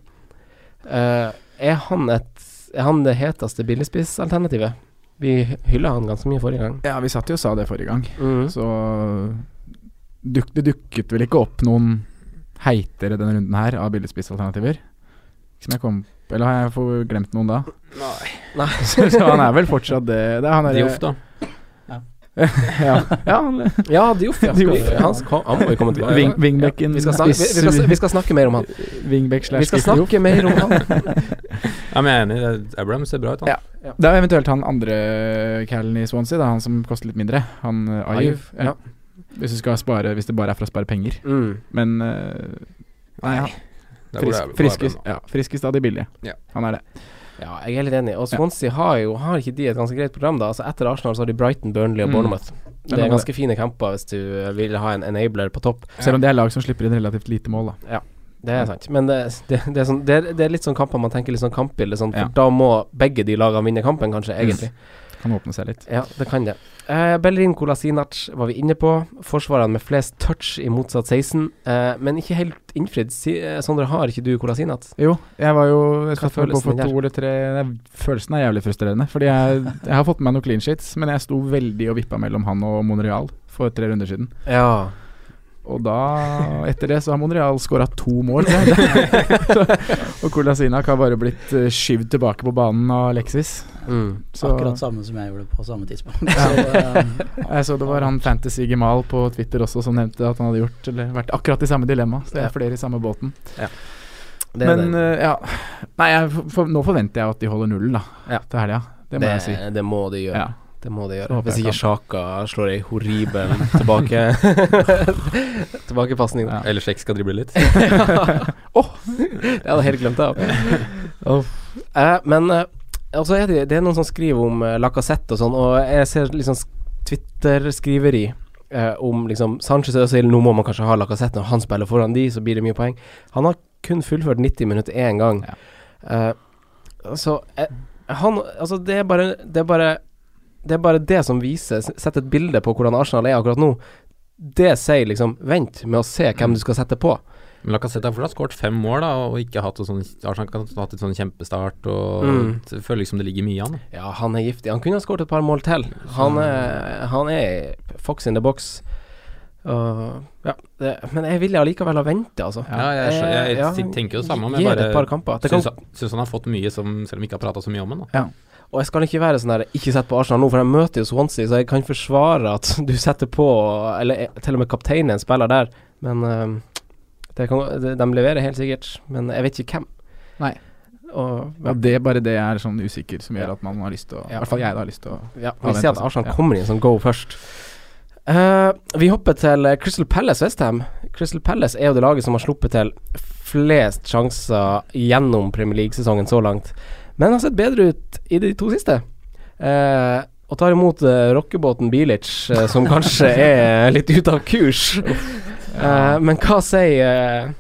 Eh, er han et Er han det heteste billigspissalternativet? Vi hylla han ganske mye forrige gang.
Ja, vi satt jo og sa det forrige gang,
Mm.
så duk, det dukket vel ikke opp noen heitere denne runden her av billigspissalternativer? Som jeg kom Eller har jeg for- glemt noen da?
Nei.
så han er vel fortsatt det. det er han der-
Dioff, da.
Ja, ja han,
Ja, Dioff, ja. Skal
Diouf,
vi- Han, skal, han må jo komme tilbake.
Wing- wingbacken
Ja, vi, skal snakke, vi, vi, skal, vi skal snakke mer om han.
Wingback
Vi
slash
skal
Dioff.
snakke mer om han.
Ja, men jeg er enig. det- Abraham ser bra ut, han.
Ja. Det er eventuelt han andre callen i Swansea, da, han som koster litt mindre. Han eh, Ayew.
Ayew, ja.
Ja. Hvis, du skal spare, hvis det bare er for å spare penger.
Mm.
Men eh, nei, ja.
Der går
Frisk,
Abraham-
friskest,
Abraham, da.
ja, friskest av de billige.
Ja.
Han er det.
Ja, jeg er litt enig. Og Swansea har jo Har ikke de et ganske greit program, da? Altså Etter Arsenal så har de Brighton, Burnley og
Mm.
Bournemouth. Det
har
er
det.
ganske fine kamper hvis du eh, vil ha en enabler på topp.
Selv om det er lag som slipper inn relativt lite mål, da.
Det er sant. Men det, det, det, er, sånn, det, er, det er litt sånn kamper man tenker litt sånn kampbilde sånn, for
Ja. Mm.
da må begge de lagene vinne kampen, kanskje, egentlig.
Kan åpne seg litt.
Ja, det kan det. Eh, Bellerin Kolasinac var vi inne på. Forsvarerne med flest touch i motsatt 16, eh, men ikke helt innfridd. Si, eh, Sondre, har ikke du Kolasinac?
Jo, jeg var jo
Hva
jeg satt vel på
følelsen
for
din
to eller tre nei, Følelsen er jævlig frustrerende. Fordi jeg, jeg har fått med meg noen clean sheets, men jeg sto veldig og vippa mellom han og Monreal for tre runder siden.
Ja.
Og da, etter det, så har Monreal skåra to mål. og Kolasinac har bare blitt eh, skyvd tilbake på banen av Alexis.
Mm.
Så,
Akkurat samme som jeg gjorde på samme tidspunkt. Så, eh,
jeg så det var han Fantasy Gemal på Twitter også som nevnte at han hadde gjort Eller vært akkurat i samme dilemma. Så det
Ja.
er flere i samme båten.
Det er
Men
det.
eh, ja Nei, jeg, for, nå forventer jeg at de holder nullen, da.
Ja.
Til helga. Det må jeg si.
det må de gjøre.
Ja.
Det må det
Så
gjøre.
håper
Hvis
jeg
ikke Sjaka slår ei horribel tilbake tilbakepasning.
Ja.
Ja.
Eller Sjekk skal drible litt.
Det hadde jeg helt glemt av. Uff. Eh, men eh, altså er det, det er noen som skriver om eh, Lacassette og sånn, og jeg ser liksom sk- Twitter-skriveri eh, om liksom Sanchez og Øzil, nå må man kanskje ha Lacassette når han spiller foran de, så blir det mye poeng. Han har kun fullført 90 minutter én gang. Eh, altså, eh, han Altså, det er bare Det er bare det er bare det som viser Sett et bilde på hvordan Arsenal er akkurat nå. Det sier liksom Vent med å se hvem du skal sette på.
Men Lacassette har fortsatt skåret fem mål da, og ikke hatt noe sånn Arsenal kan ha hatt et sånn kjempestart. Og
Mm.
så Jeg føler liksom det ligger mye i han.
Ja, han er giftig. Han kunne ha skåret et par mål til. Han er, han er fox in the box. Og, ja, det, men jeg ville allikevel ha venta, altså.
Ja, jeg, skjønner, jeg,
Ja,
tenker jo det samme, men
gi
jeg
det et par kamper.
bare
Det kan-
syns, syns han har fått mye, som, selv om vi ikke har prata så mye om han. Da.
Og jeg skal ikke være sånn der Ikke sett på Arsenal nå, for jeg møter jo Swansea, så jeg kan forsvare at du setter på Eller eh, til og med kapteinen spiller der, men eh, det kan, de, de leverer helt sikkert. Men jeg vet ikke hvem.
Nei.
Og,
Ja, det bare det er sånn usikker som gjør at man har lyst til å I
Ja.
hvert fall jeg da har lyst til å
Ja,
å
vi ser at
vente og sånn.
Arsenal
Ja.
kommer i en sånn go først. Eh, vi hopper til eh, Crystal Palace Westham. Crystal Palace er jo det laget som har sluppet til flest sjanser gjennom Premier League-sesongen så langt, men har sett bedre ut i de to siste. Eh, og tar imot eh, rockebåten Bilic, eh, som kanskje er litt ute av kurs. Eh, men hva sier eh,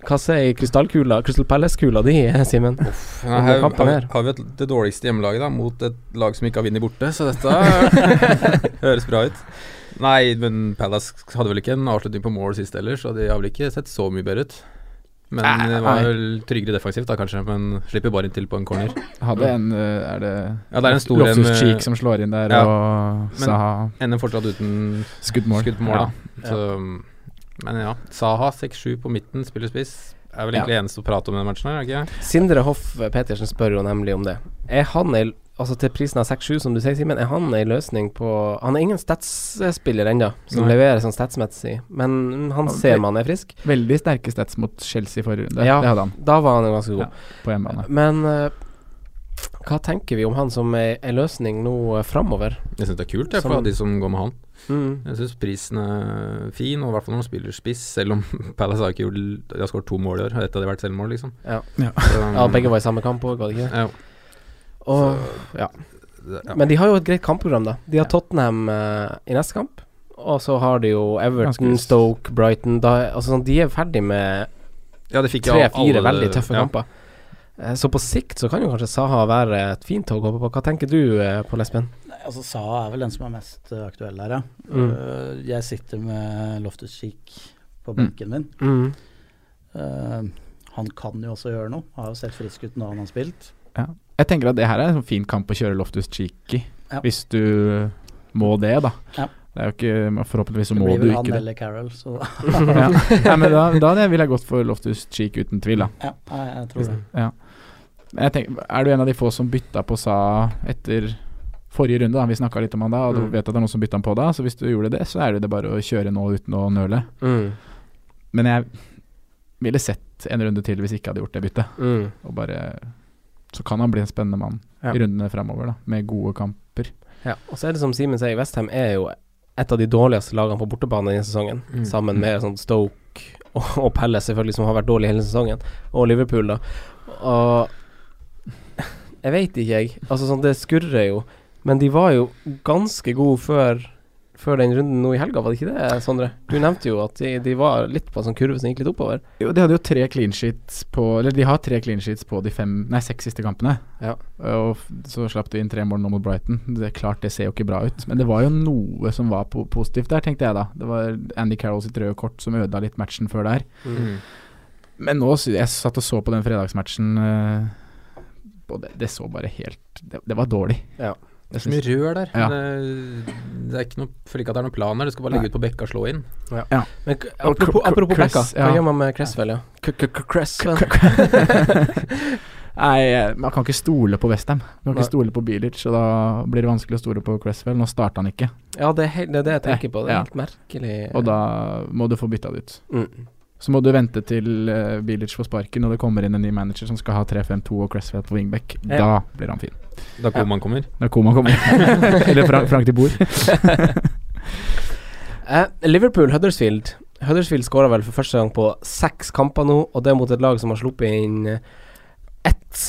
Hva sier krystallkula, Crystal Palace-kula di, Simen?
Ja,
Om
her,
kampen
har,
her?
har vi et, det dårligste hjemmelaget da, mot et lag som ikke har vunnet borte, så dette høres bra ut. Nei, men Palace hadde vel ikke en avslutning på mål sist heller, så de har vel ikke sett så mye bedre ut. Men
Nei,
det var
nei.
vel tryggere defensivt da, kanskje, men slipper bare inntil på en corner.
Hadde en eh, Er det
Ja, det er en stor en,
Loftus
eh,
Cheek som slår inn der,
ja.
og
Men-
Saha
Ender fortsatt uten
Skuddmål.
skudd på mål,
Ja.
da. Så, um, men ja. Saha 6-7 på midten, spiller spiss. Er vel egentlig eneste å prate om i denne matchen her, er det ikke?
Sindre Hoff Petersen spør jo nemlig om det. Er han ei Altså til prisen av 6-7, som du sier, Simen, er han ei løsning på Han er ingen statsspiller ennå, som
Nei.
leverer sånn statsmessig, men mm, han
Han-
ser man er frisk.
Veldig sterke stats mot Chelsea forrige runde.
Ja.
Det hadde han
Da var han jo ganske god.
på hjemmebane.
Men eh, hva tenker vi om han som ei ei løsning nå uh, framover?
Jeg syns det er kult, jeg,
Som-
for de som går med han.
Mm.
Jeg syns prisen er fin, og i hvert fall når man spiller spiss, selv om Palace har ikke gjort De har skåret to mål i år, og ett av de har vært selvmål, liksom.
Ja.
Ja.
Så,
ja, begge var i samme kamp òg, var det ikke det?
ja,
Og,
det- ja.
Men de har jo et greit kampprogram, da. De har Tottenham eh, i neste kamp, og så har de jo Everton,
Ganske-
Stoke, Brighton da, Altså sånn, de er ferdig med
ja, det fikk jeg av
tre-fire
alle-
veldig tøffe
ja.
kamper. Eh, Så på sikt så kan jo kanskje Saha være et fint tog å hoppe på. Hva tenker du, eh, Pål Espen?
Nei, altså Saha er vel den som er mest eh, aktuell her, ja.
Mm.
Eh, jeg sitter med Loftus Cheek
Mm.
på benken min.
Mm.
Eh, han kan jo også gjøre noe. Har jo sett frisk ut når han har spilt.
Jeg tenker at det her er en sånn fin kamp å kjøre Loftus Cheek i,
Ja.
hvis du må det, da.
Ja.
Det er jo ikke men Forhåpentligvis så
Det
må
blir
du
vel han
ikke det.
eller Carroll, så
ja. Nei, men da, da hadde jeg- ville jeg gått for Loftus Cheek uten tvil, da.
ja, nei, jeg
Mm.
tror det.
Men jeg tenker, er du en av de få som bytta på Sa etter forrige runde? da Vi snakka litt om han da, og du
Mm.
vet at det er noen som bytta han på da. Så hvis du gjorde det, så er det bare å kjøre nå uten å nøle.
Mm.
Men jeg ville sett en runde til hvis jeg ikke hadde gjort det byttet.
Mm.
Og bare Så kan han bli en spennende mann
Ja.
i rundene fremover, da, med gode kamper.
Ja. Og så er det som Simen sier, Westham er jo et av de dårligste lagene på bortebane denne sesongen,
Mm.
sammen med sånn Stoke og, og Pelle, selvfølgelig, som har vært dårlig hele sesongen, og Liverpool, da. Og Jeg veit ikke, jeg. Altså, sånn, det skurrer jo. Men de var jo ganske gode før, før den runden nå i helga, var det ikke det, Sondre? Du nevnte jo at de, de var litt på en sånn kurve som gikk litt oppover.
Jo, de hadde jo tre clean sheets på Eller de har tre clean sheets på de fem Nei, seks siste kampene.
Ja.
Og f- så slapp de inn tre mål nå mot Brighton. Det er klart, det ser jo ikke bra ut. Men det var jo noe som var po positivt der, tenkte jeg da. Det var Andy Carroll sitt røde kort som ødela litt matchen før der.
Mm.
Men nå, sy- jeg satt og så på den fredagsmatchen, eh, og det, det så bare helt Det, det var dårlig.
Ja.
Det
Så mye
syns-
rør der.
Ja.
Det, det er ikke noe, føler ikke at det er noen plan her. Du skal bare legge ut på bekka og slå inn.
Men k-
Og
apropos,
Cr- Cr-
apropos
Cress,
Becka, hva
ja.
gjør man med Cresswell, ja? Cresswell.
Nei, eh, man kan ikke stole på Westham. Man kan
Nei.
ikke stole på Bilic, så da blir det vanskelig å stole på Cresswell. Nå starta han ikke,
Ja, det er, helt, det er det jeg tenker på. Det er
Ja.
helt merkelig.
og da må du få bytta det ut.
Mm.
Så må du vente til eh, Bilic får sparken og det kommer inn en ny manager som skal ha 3-5-2 og Cresswell på wingback.
Ja.
Da blir han fin.
Da Koman kommer.
Når Koma kommer. Eller Frank, Frank til bord.
Eh, Liverpool, Huddersfield. Huddersfield skåra vel for første gang på seks kamper nå, og det er mot et lag som har sluppet inn eh, ett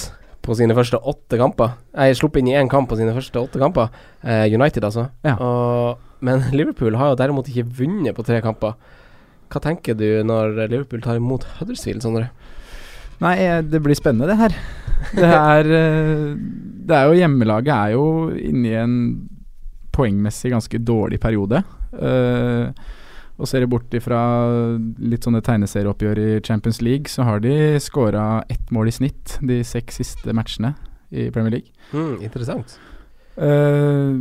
på sine første åtte kamper. Jeg slapp inn i én kamp på sine første åtte kamper. Eh, United, altså. Og, men Liverpool har jo derimot ikke vunnet på tre kamper. Hva tenker du når Liverpool tar imot Huddersfield, Sondre?
Nei, eh, det blir spennende, det her. Det er, eh, det er jo Hjemmelaget er jo inne i en poengmessig ganske dårlig periode. Eh, og ser du bort ifra litt sånne tegneserieoppgjør i Champions League, så har de skåra ett mål i snitt de seks siste matchene i Premier League.
Mm,
Hmm, interessant.
Eh,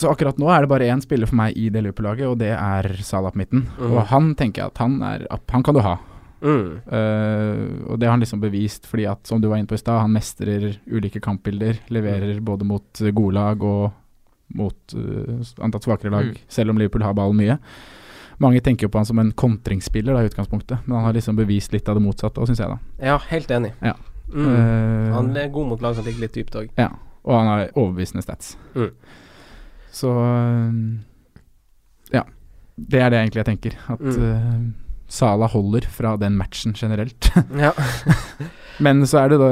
så akkurat nå er det bare én spiller for meg i det Liverpool-laget, og det er Salah på midten.
Mhm.
Og han tenker jeg at han, er, up- han kan du ha.
Mm.
Eh, og det har han liksom bevist, fordi at som du var inne på i stad, han mestrer ulike kampbilder. Leverer
Mm.
både mot eh, gode lag og mot eh, antatt svakere lag,
Mm.
selv om Liverpool har ballen mye. Mange tenker jo på han som en kontringsspiller da, i utgangspunktet, men han har liksom bevist litt av det motsatte òg, syns jeg, da.
Ja, helt enig.
Ja.
Mm.
Eh,
Han er god mot lag som ligger litt dypt òg.
ja, og han har overbevisende stats.
Mm.
Så øhm, Ja. Det er det egentlig jeg tenker. At
Mm.
øhm, Sala holder fra den matchen generelt.
Ja.
Men så er det da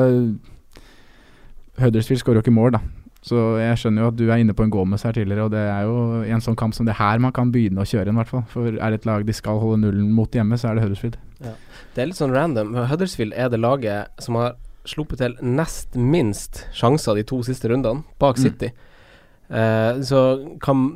Huddersfield skårer jo ikke mål, da. Så jeg skjønner jo at du er inne på en Gomez her tidligere, og det er jo i en sånn kamp som det her man kan begynne å kjøre en, i hvert fall. For er det et lag de skal holde nullen mot hjemme, så er det Huddersfield.
Det er litt sånn random. men Huddersfield er det laget som har sluppet til nest minst sjanser de to siste rundene, bak
Mm.
City. Eh, så kan,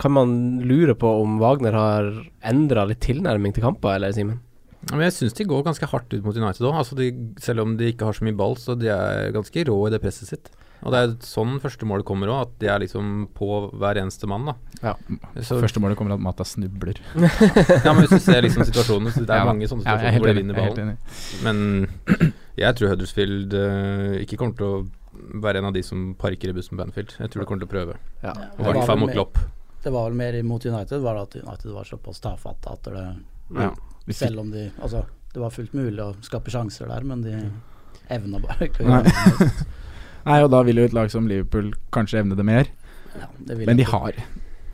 kan man lure på om Wagner har endra litt tilnærming til kamper, eller, Simen?
Ja, Men jeg syns de går ganske hardt ut mot United òg. Altså de- selv om de ikke har så mye ball, så de er ganske rå i det presset sitt. Og det er sånn første målet kommer òg, at de er liksom på hver eneste mann, da.
Ja.
Så,
Første målet kommer at Mata snubler.
ja, men hvis du ser liksom situasjonen, så det er
Ja da.
mange sånne
Ja, jeg er
situasjoner
helt
hvor de vinner
enig. Jeg er
ballen.
helt
Men jeg tror Huddersfield eh, ikke kommer til å være en av de som parker i bussen på Anfield. Jeg tror de kommer til å prøve.
Ja.
Og i hvert fall mot Klopp.
Det var vel mer imot United, var det at United var såpass tafatte at det
Ja.
Selv om de Altså, det var fullt mulig å skape sjanser der, men de evna bare ikke å gjøre noe
Mm. Nei.
som helst.
Nei, og da vil jo et lag som Liverpool kanskje evne det mer.
Ja, det vil
Men de
jeg ikke.
har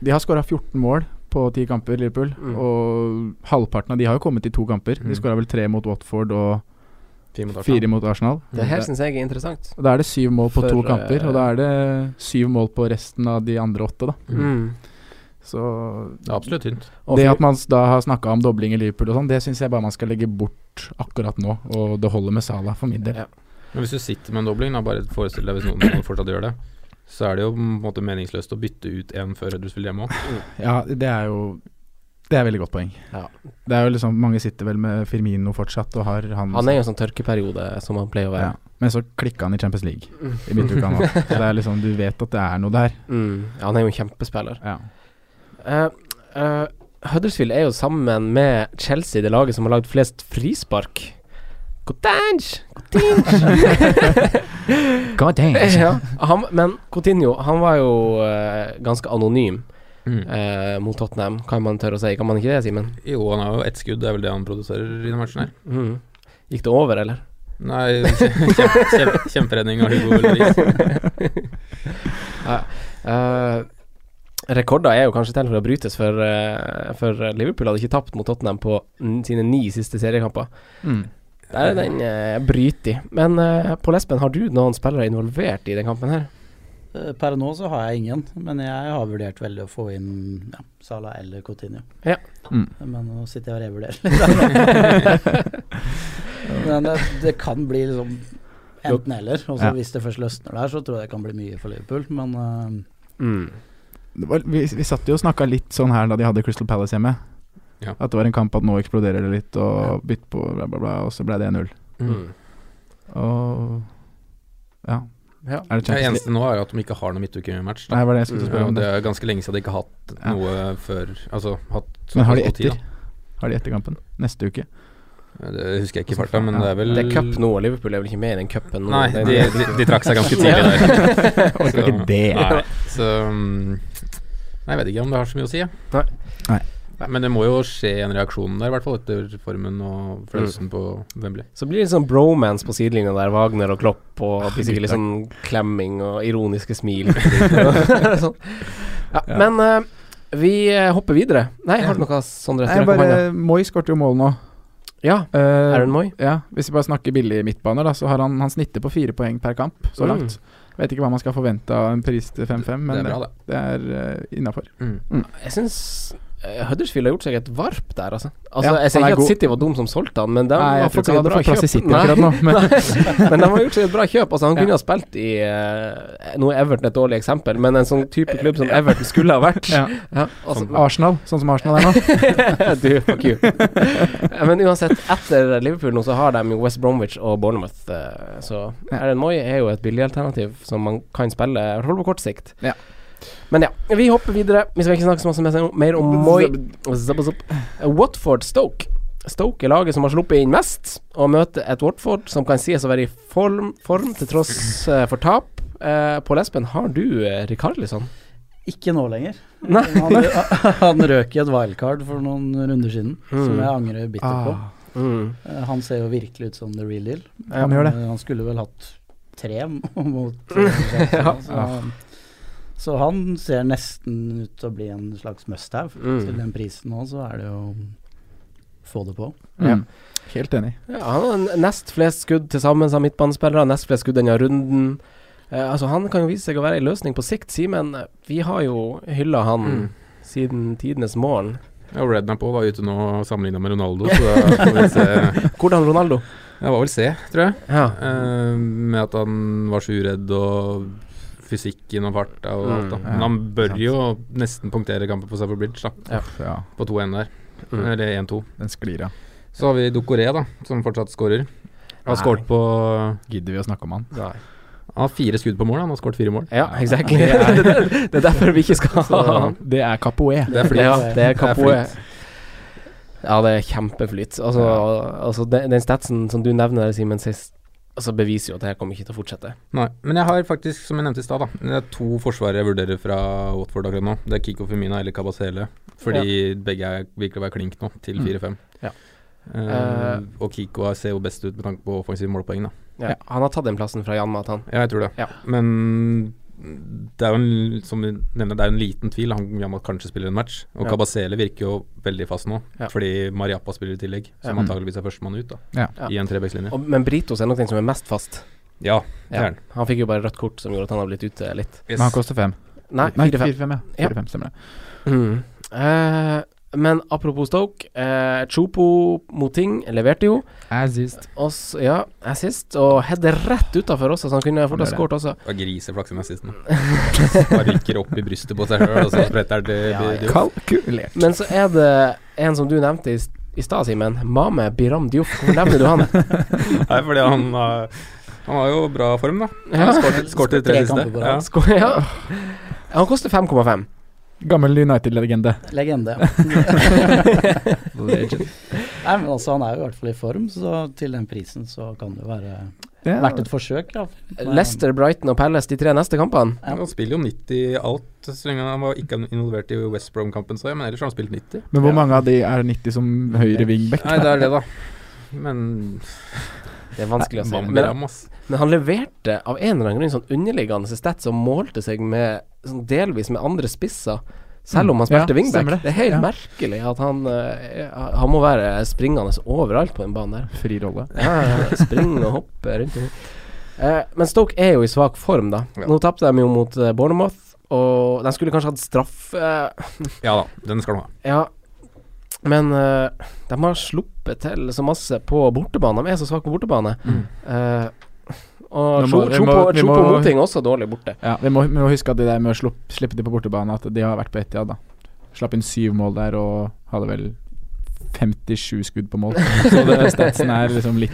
De har skåra 14 mål på ti kamper, Liverpool.
Mm.
Og halvparten av de har jo kommet i to kamper.
Mm.
De skåra vel tre mot Watford og
Fire mot Arsenal.
fire mot Arsenal.
Det her syns jeg er interessant.
Og Da er det syv mål på
For,
to
eh,
kamper, og da er det syv mål på resten av de andre åtte, da.
Mm.
Så
Det er absolutt tynt.
Og
det
for-
at man s- da har snakka om dobling i Liverpool og sånn, det syns jeg bare man skal legge bort akkurat nå. Og det holder med Salah for min del.
Ja.
Men hvis du sitter med en dobling, da bare forestill deg hvis noen fortsatt gjør det, så er det jo på en måte meningsløst å bytte ut en før Huddersfield hjemme òg.
Ja, det er jo Det er veldig godt poeng.
Ja.
Det er jo liksom Mange sitter vel med Firmino fortsatt og har han
Han er jo en sånn tørkeperiode som han pleier å
Ja.
være.
Men så klikka han i Champions League i midtuka nå. Så det er liksom, du vet at det er noe der.
Mm. Han er jo en kjempespiller.
Ja.
Eh, eh, Huddersfield er jo sammen med Chelsea det laget som har lagd flest frispark. Cotange!
God damn!
ja, han, men Coutinho, han var jo eh, ganske anonym
Mm.
eh, mot Tottenham, kan man tørre å si. Kan man ikke det, Simen?
Jo, han har jo ett skudd, det er vel det han produserer i denne matchen her.
Mm. Gikk det over, eller?
Nei, kjempe, kjempe, kjemperedning av Hugo Ulrichs.
Eh, rekorder er jo kanskje til for å brytes, for, eh, for Liverpool hadde ikke tapt mot Tottenham på n sine ni siste seriekamper.
Mm.
Der er den eh, brytig. Men eh, Pål Espen, har du noen spillere involvert i den kampen her?
Eh, Per nå så har jeg ingen, men jeg har vurdert veldig å få inn ja, Salah eller Coutinho.
Ja.
Mm.
Men nå sitter jeg og revurderer litt. men det, det kan bli liksom enten eller. Og så
Ja.
hvis det først løsner der, så tror jeg det kan bli mye for Liverpool. Men eh,
Mm.
Det var, vi, vi satt jo og snakka litt sånn her da de hadde Crystal Palace hjemme.
Ja.
At det var en kamp at nå eksploderer det litt, og bytt på bla, bla, bla, og så ble det 1-0.
Mm.
Og ja.
Ja.
Er det
Det
Champions League?
eneste nå er at de ikke har noen midtukematch. da.
Nei, var det jeg skulle
Mm,
spørre
Ja,
om.
det
Det.
er ganske lenge siden de ikke har hatt
Ja.
noe før Altså hatt
Men har de
såpass god tid,
etter? Har de etter kampen? Neste uke?
da. Det husker jeg ikke i farta, men
Altså, Ja.
det er vel
Det er cup nå, og Liverpool er vel ikke med i den cupen? nå?
Nei,
Det er-
de, de, de trakk seg ganske tidlig der.
Orka
Så-
ikke det.
Nei, så mm, Nei, jeg vet ikke om det har så mye å si. jeg.
Nei.
Nei. Men det må jo skje en reaksjon der, i hvert fall etter formen og
Mm.
følelsen på Wembley.
Så blir det litt sånn bromance på sidelinja der, Wagner og Klopp, og
Ah,
blir sikkert litt
gutta.
sånn klemming og ironiske smil. sånn. ja,
Ja.
Men eh, vi eh, hopper videre. Nei, har du noe Sondre
Nei,
strekk opp
bare
hånda?
Moi skåret jo mål nå. Eh,
Ja, Aaron Moy.
Ja, Hvis vi bare snakker billig midtbaner, da, så har han, han snitter på fire poeng per kamp så
Mm.
langt. Vet ikke hva man skal forvente av en pris til 5-5, men
Det er bra, det.
det er uh, innafor.
Jeg syns eh, Huddersfield har gjort seg et varp der, altså. altså
Ja,
jeg sier
han er
ikke
god.
at City var dum som solgte han, men de
Nei, jeg
har
tror
fått
ikke
seg
han
et
hadde
bra
fått
kjøp.
plass i City akkurat nå, men-
Nei, men de har gjort seg et bra kjøp. Altså, han
Ja.
kunne ha spilt i eh, Nå er Everton et dårlig eksempel, men en sånn type klubb som Everton skulle ha vært.
Ja.
Ja, altså,
Arsenal, sånn som Arsenal er nå.
du, fuck you. Eh, Men uansett, etter Liverpool nå så har de jo West Bromwich og Bournemouth. eh, Så Aaron Moy er jo et billig alternativ som man kan spille, i hvert fall på kort sikt.
Ja.
Men ja, vi hopper videre. Vi skal ikke snakke så masse mer- mer om Moy. Zapp, zapp. Eh, Watford Stoke. Stoke er laget som har sluppet inn mest, og møter et Watford som kan sies å være i form, form til tross eh, for tap. Eh, Pål Espen, har du eh, Rikarlison?
Ikke nå lenger.
Nei.
Han, han røk i et wildcard for noen runder siden, som jeg angrer bittert på.
Ah.
Mm.
Eh, Han ser jo virkelig ut som the real deal.
Han Ah, gjør det.
Eh, Han skulle vel hatt tre mot ja. så, så han ser nesten ut til å bli en slags must-have.
Mm.
Til den prisen nå, så er det jo få det på.
Ja. Helt enig.
Ja, han har n- nest flest skudd til sammen som midtbanespillere, nest flest skudd denne runden. Eh, altså Han kan jo vise seg å være en løsning på sikt, Simen. eh, Vi har jo hylla han
Mm.
siden tidenes morgen.
Ja, Rednap òg var ute nå sammenligna med Ronaldo, så da får vi se.
Hvordan Ronaldo?
Det var vel C, tror jeg.
Ja.
Eh, med at han var så uredd og fysikken og farta og alt. Da.
Mm, ja,
Men han bør
sant.
jo nesten punktere kampen på Suffer Bridge, da.
Ja. ja,
På 2-1 der.
Mm.
Eller 1-2.
den sklir av.
Så har vi Dokoré, da, som fortsatt skårer.
Nei.
Har skåret på Han
Gidder vi å snakke om han?
Nei.
har fire skudd på mål, han har skåret fire mål.
Ja, exactly. det, er, det er derfor vi ikke skal ha han.
Det er Capoe.
Det er flyt.
Ja, det er Kapoe.
flyt.
Ja, det er kjempeflyt. Altså, altså den, den statsen som du nevner, Simen, sist, altså beviser jo at det her kommer ikke til å fortsette.
Nei, men jeg har faktisk, som jeg nevnte i stad, da Det er to forsvarere jeg vurderer fra Watford akkurat nå. Det er Kiko Femina eller Kabasele. Fordi begge er, virker å være klink nå, til
Mm.
4-5.
Ja.
Eh, og Kiko er- ser jo best ut med tanke på offensive målpoeng, da.
Ja.
Han har tatt den plassen fra Jan Matan.
Ja, jeg tror det.
Ja.
Men det er jo en, som du nevner, det er jo en liten tvil. Han Jamal kanskje spiller en match. Og
Ja.
Kabasele virker jo veldig fast nå,
Ja.
fordi Mariappa spiller i tillegg. Som
Ja.
antageligvis er førstemann ut, da.
Ja.
Ja.
I en trebekslinje.
Og- Men Britos er nok den som er mest fast.
Ja, det
Ja.
er han.
Han fikk jo bare rødt kort som gjorde at han har blitt ute litt.
Yes.
Men han koster fem.
Nei,
Nei,
4-5.
4-5, ja.
Ja.
4-5 stemmer det.
Mm. Eh, men apropos Stoke, eh, Chopo Moting leverte jo.
As is.
Oss, ja, assist, og header rett utafor også, så han kunne fort ha
gjør det.
skåret også.
Og griseflaks i nazisten. Bare rykker opp i brystet på seg sjøl, og så spretter det det- det-
Kalkulert.
Men så er det en som du nevnte i, s- i stad, Simen. Mame Biram Diouf. Hvor nevner du han?
Nei, fordi han har Han har jo bra form, da.
Ja.
Han skåret- Skåret i
Tre
tre
kamper
siste.
på
Ja.
rad.
Skå- ja. Han koster 5,5.
Gammel United-legende.
Legende. Nei, men altså, han er jo i hvert fall i form, så til den prisen så kan det jo være
Ja.
verdt et forsøk. Ja.
Leicester, Brighton og Palace, de tre neste kampene.
Ja.
Han spiller jo 90 i alt, så lenge han var ikke involvert i West Brom-kampen, så jeg, men ellers har han spilt 90.
Men hvor mange av de er 90 som høyre wingback?
Nei, det er det, da. Men
Det er vanskelig å si.
Van
Men,
Bram, ass.
men han leverte av en eller annen grunn sånn underliggende stat som målte seg med sånn delvis med andre spisser. Selv om han
Mm. Ja,
spilte wingback.
stemmer
Det.
det.
er helt
Ja.
merkelig at han eh, Han må være springende overalt på den banen der.
Fri rolle.
Ja, Springe og hoppe rundt omkring. Eh, men Stoke er jo i svak form, da.
Ja.
Nå tapte de jo mot eh, Bournemouth, og de skulle kanskje hatt straff eh,
Ja da, den skal han ha.
Ja, men eh, de har sluppet til så masse på bortebane. De er så svake på bortebane. Eh, og
Nå
Sjo
må- Mm. vi
Sjo på
må- vi
Sjo på
må-
Moting også dårlig borte.
Ja, vi må, vi må huske at det der med å slupp, slippe de på bortebane, at de har vært på Etiad, da. Slapp inn syv mål der og hadde vel 57 skudd på mål. Så det, statsen er liksom litt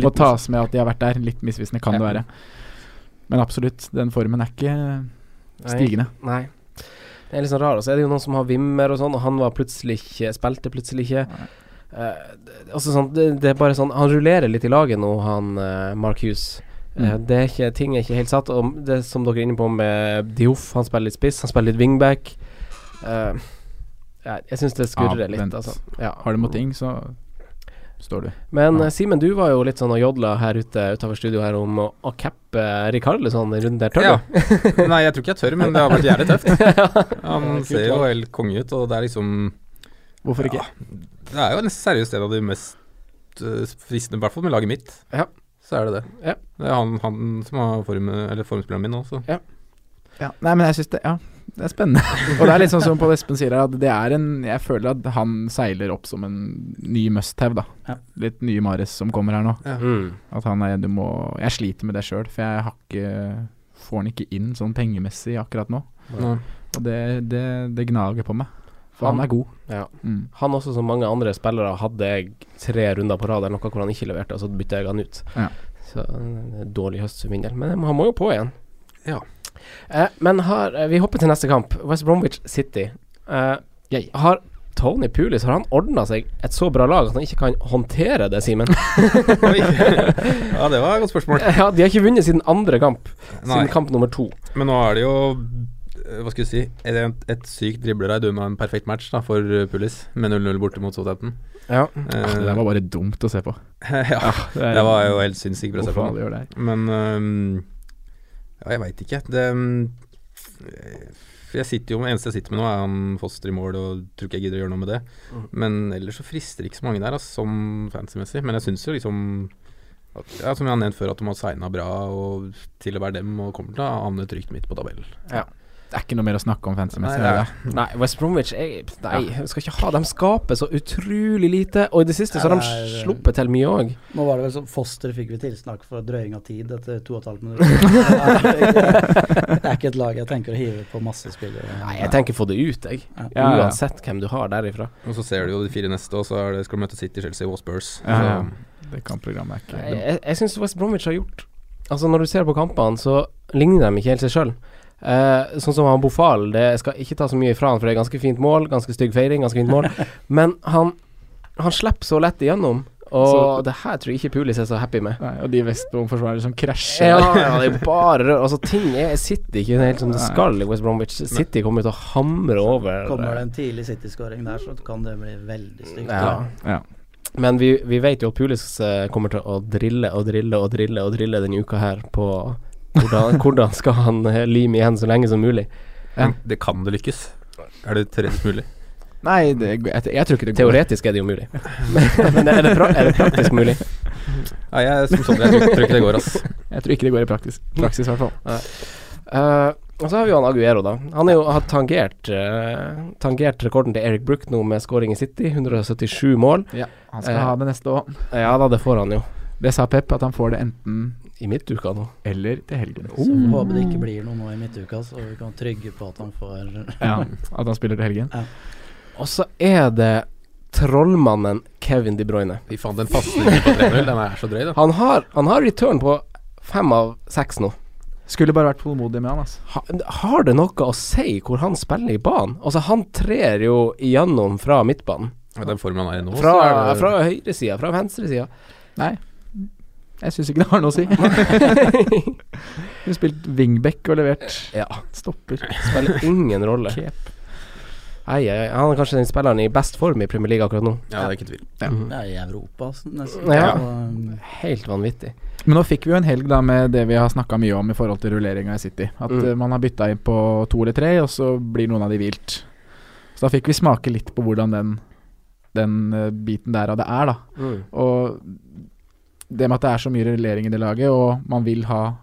Må tas med at de har vært der. Litt misvisende kan det
Ja.
være. Men absolutt, den formen er ikke stigende.
Nei. Det er litt sånn rar. Og så er det jo noen som har Wimmer og sånn, og han var plutselig ikke Spilte plutselig ikke. Eh, det- altså sånn, det, det er bare sånn Han rullerer litt i laget nå, han eh, Mark Hughes. Eh,
Mm.
det er ikke, ting er ikke helt satt. Og det som dere er inne på med Dioff, han spiller litt spiss, han spiller litt wingback. Eh, ja, jeg syns det skurrer
Ja,
litt,
vent.
altså. Ja.
Har du mot ting, så står du.
Men
Ja.
eh, Simen, du var jo litt sånn og jodla her ute utenfor studio her om å, å cappe Rikarlison i runden der, tør du?
Ja. Nei, jeg tror ikke jeg tør, men det har vært jævlig tøft. Han ser jo helt konge ut, og det er liksom
Hvorfor ikke?
Det er jo en seriøst en av de mest eh, fristende, i hvert fall med laget mitt.
Ja.
Så er det det. Det er han, han som har form, eller formspilleren min nå, så
Ja.
Ja, nei, men jeg synes det Ja, det er spennende. Og det er litt sånn som Pål Espen sier her, at det er en Jeg føler at han seiler opp som en ny must-have, da. Litt nye Mares som kommer her nå.
Ja.
Mm.
At han er Du må Jeg sliter med det sjøl, for jeg har ikke Får han ikke inn sånn pengemessig akkurat nå.
Nei.
Og det, det, det gnager på meg. For han, er god.
Ja.
Mm.
Han også, som mange andre spillere, hadde jeg tre runder på rad eller noe hvor han ikke leverte, og så bytta jeg han ut.
Ja.
Så eh, dårlig høst for min del. Men eh, han må jo på igjen.
Ja.
Eh, men har, eh, vi hopper til neste kamp. West Bromwich City. Eh, Har Tony Pulis Har han ordna seg et så bra lag at han ikke kan håndtere det, Simen?
Ja, det var et godt spørsmål.
ja, de har ikke vunnet siden andre kamp.
Nei.
Siden kamp nummer to.
Men nå er det jo eh, hva skal jeg si Et, et sykt driblerraid dømmer en perfekt match da for eh, Pulis, med 0-0 borte mot Southampton.
Ja.
Ah, det der var bare dumt å se på.
ja,
Eh, det er-
Ah, det var jo helt sinnssykt bra å se
Hvorfor
på.
alle gjør det
Men øhm, Ja, jeg veit ikke. Det øhm, eh, for jeg sitter jo, eneste jeg sitter med nå, er han Foster i mål, og tror ikke jeg gidder å gjøre noe med det.
Mm.
Men ellers så frister det ikke så mange der, altså, som fancy-messig. Men jeg syns jo liksom at, ja, Som jeg har nevnt før, at de har signa bra og til å være dem, og kommer til å havne trygt midt på tabellen.
Det er ikke noe mer å snakke om
Nei,
fancy-messig.
det er
er det?
Nei, West Bromwich jeg, Nei, jeg skal ikke ha De skaper så utrolig lite, og i det siste så har de
Ja, det er-
sluppet til mye òg.
Nå var det vel som Foster fikk vi tilsnakk for drøying av tid etter to og et halvt minutter. Det er ikke et lag jeg tenker å hive på masse spillere.
Nei, jeg tenker få det ut, jeg.
Ja, ja.
Uansett hvem du har derifra.
Og så ser du jo de fire neste, og så er det, skal du møte City, Chelsea og Spurs.
Ja, ja.
Så-
Det kan programmet er
Jeg,
ikke
jeg, jeg syns West Bromwich har gjort Altså, når du ser på kampene, så ligner de ikke helt seg sjøl. Eh, sånn som han Bofal, det jeg skal ikke ta så mye ifra han, for det er ganske fint mål, ganske stygg feiring, ganske fint mål, men han Han slipper så lett igjennom, og
Så-
det her tror jeg ikke Pulis er så happy med.
Nei, og de Vestbrom-forsvarere som krasjer.
Ja, ja, det er jo bare rør. Altså, ting er, sitter ikke helt som det skal i West Bromwich. City kommer til å hamre over.
Kommer det en tidlig City-skåring der, så kan det bli veldig stygt.
Ja.
Ja.
Men vi, vi vet jo at Pulis eh, kommer til å drille og drille og drille og drille denne uka her på hvordan, hvordan skal han eh, lime igjen så lenge som mulig.
Men Det kan det lykkes. Er det teoretisk mulig?
Nei, det, jeg, jeg tror ikke det går.
Teoretisk er det jo mulig, men er det, pra er det praktisk mulig?
Nei, jeg, som sånn, jeg tror tror ikke det går, ass.
Jeg tror ikke det går i praksis, praksis i hvert fall.
Eh, og så har vi jo han Aguero, da. Han er jo, har tangert, eh, tangert rekorden til Eric Brook nå med scoring i City, 177 mål.
Ja, han skal
Eh,
ha det neste òg.
Ja da, det får han jo.
Det sa Pep, at han får det enten
I midtuka nå.
eller til helgen.
Så vi Oh. håper det ikke blir noe nå i midtuka, så vi kan trygge på at han får
Ja, At han spiller til helgen.
Og så er det trollmannen Kevin De Bruyne.
Fy faen, den pasningen på 3-0, den er så drøy, da.
Han har, han har return på fem av seks nå.
Skulle bare vært tålmodig med han, altså.
Ha, har det noe å si hvor han spiller i banen? Altså, han trer jo igjennom fra midtbanen.
Med den formen han er i nå,
Fra,
så er det
fra høyresida, fra venstresida.
Nei. Jeg syns ikke det har noe å si. Hun spilt wingback og levert
Ja.
stopper.
Spiller ingen rolle.
Kep.
Ei, ei, ei. Han er kanskje den spilleren i best form i Premier League akkurat nå.
Ja, det er ikke tvil.
Ja, i Europa så nesten.
Ja.
Og, um,
Helt vanvittig.
Men nå fikk vi jo en helg da med det vi har snakka mye om i forhold til rulleringa i City. At
Mm.
eh, man har bytta inn på to eller tre, og så blir noen av de vilt. Så da fikk vi smake litt på hvordan den, den eh, biten der av det er, da. Og det med at det er så mye rullering i det laget, og man vil ha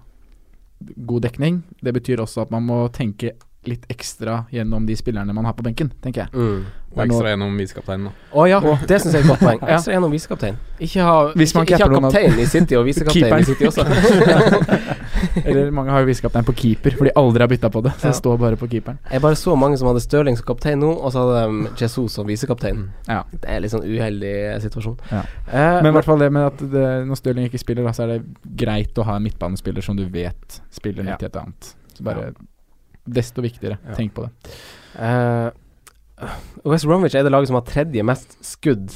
god dekning, det betyr også at man må tenke litt ekstra gjennom de spillerne man har på benken, tenker jeg.
Mm.
Og ekstra gjennom visekapteinen, da.
Å ja, det syns jeg er et godt poeng. Ekstra gjennom visekaptein. Ikke ha,
Hvis
ikke,
man
ikke ha
capper noen av-
kaptein i City og visekaptein
Keeperen.
i City også.
Eller mange har jo viskekaptein på keeper, for de aldri har bytta på det. Så
Ja.
det står bare på keeperen.
Jeg bare så mange som hadde Stirling som kaptein nå, og så hadde de Jesus som visekaptein.
Mm. Ja.
Det er litt sånn uheldig eh, situasjon.
Ja.
Eh,
Men i hvert fall det med at det, når Stirling ikke spiller, da, så er det greit å ha en midtbanespiller som du vet spiller
Ja.
litt i et annet. Så bare desto viktigere. Tenk på det.
eh, West Bromwich er det laget som har tredje mest skudd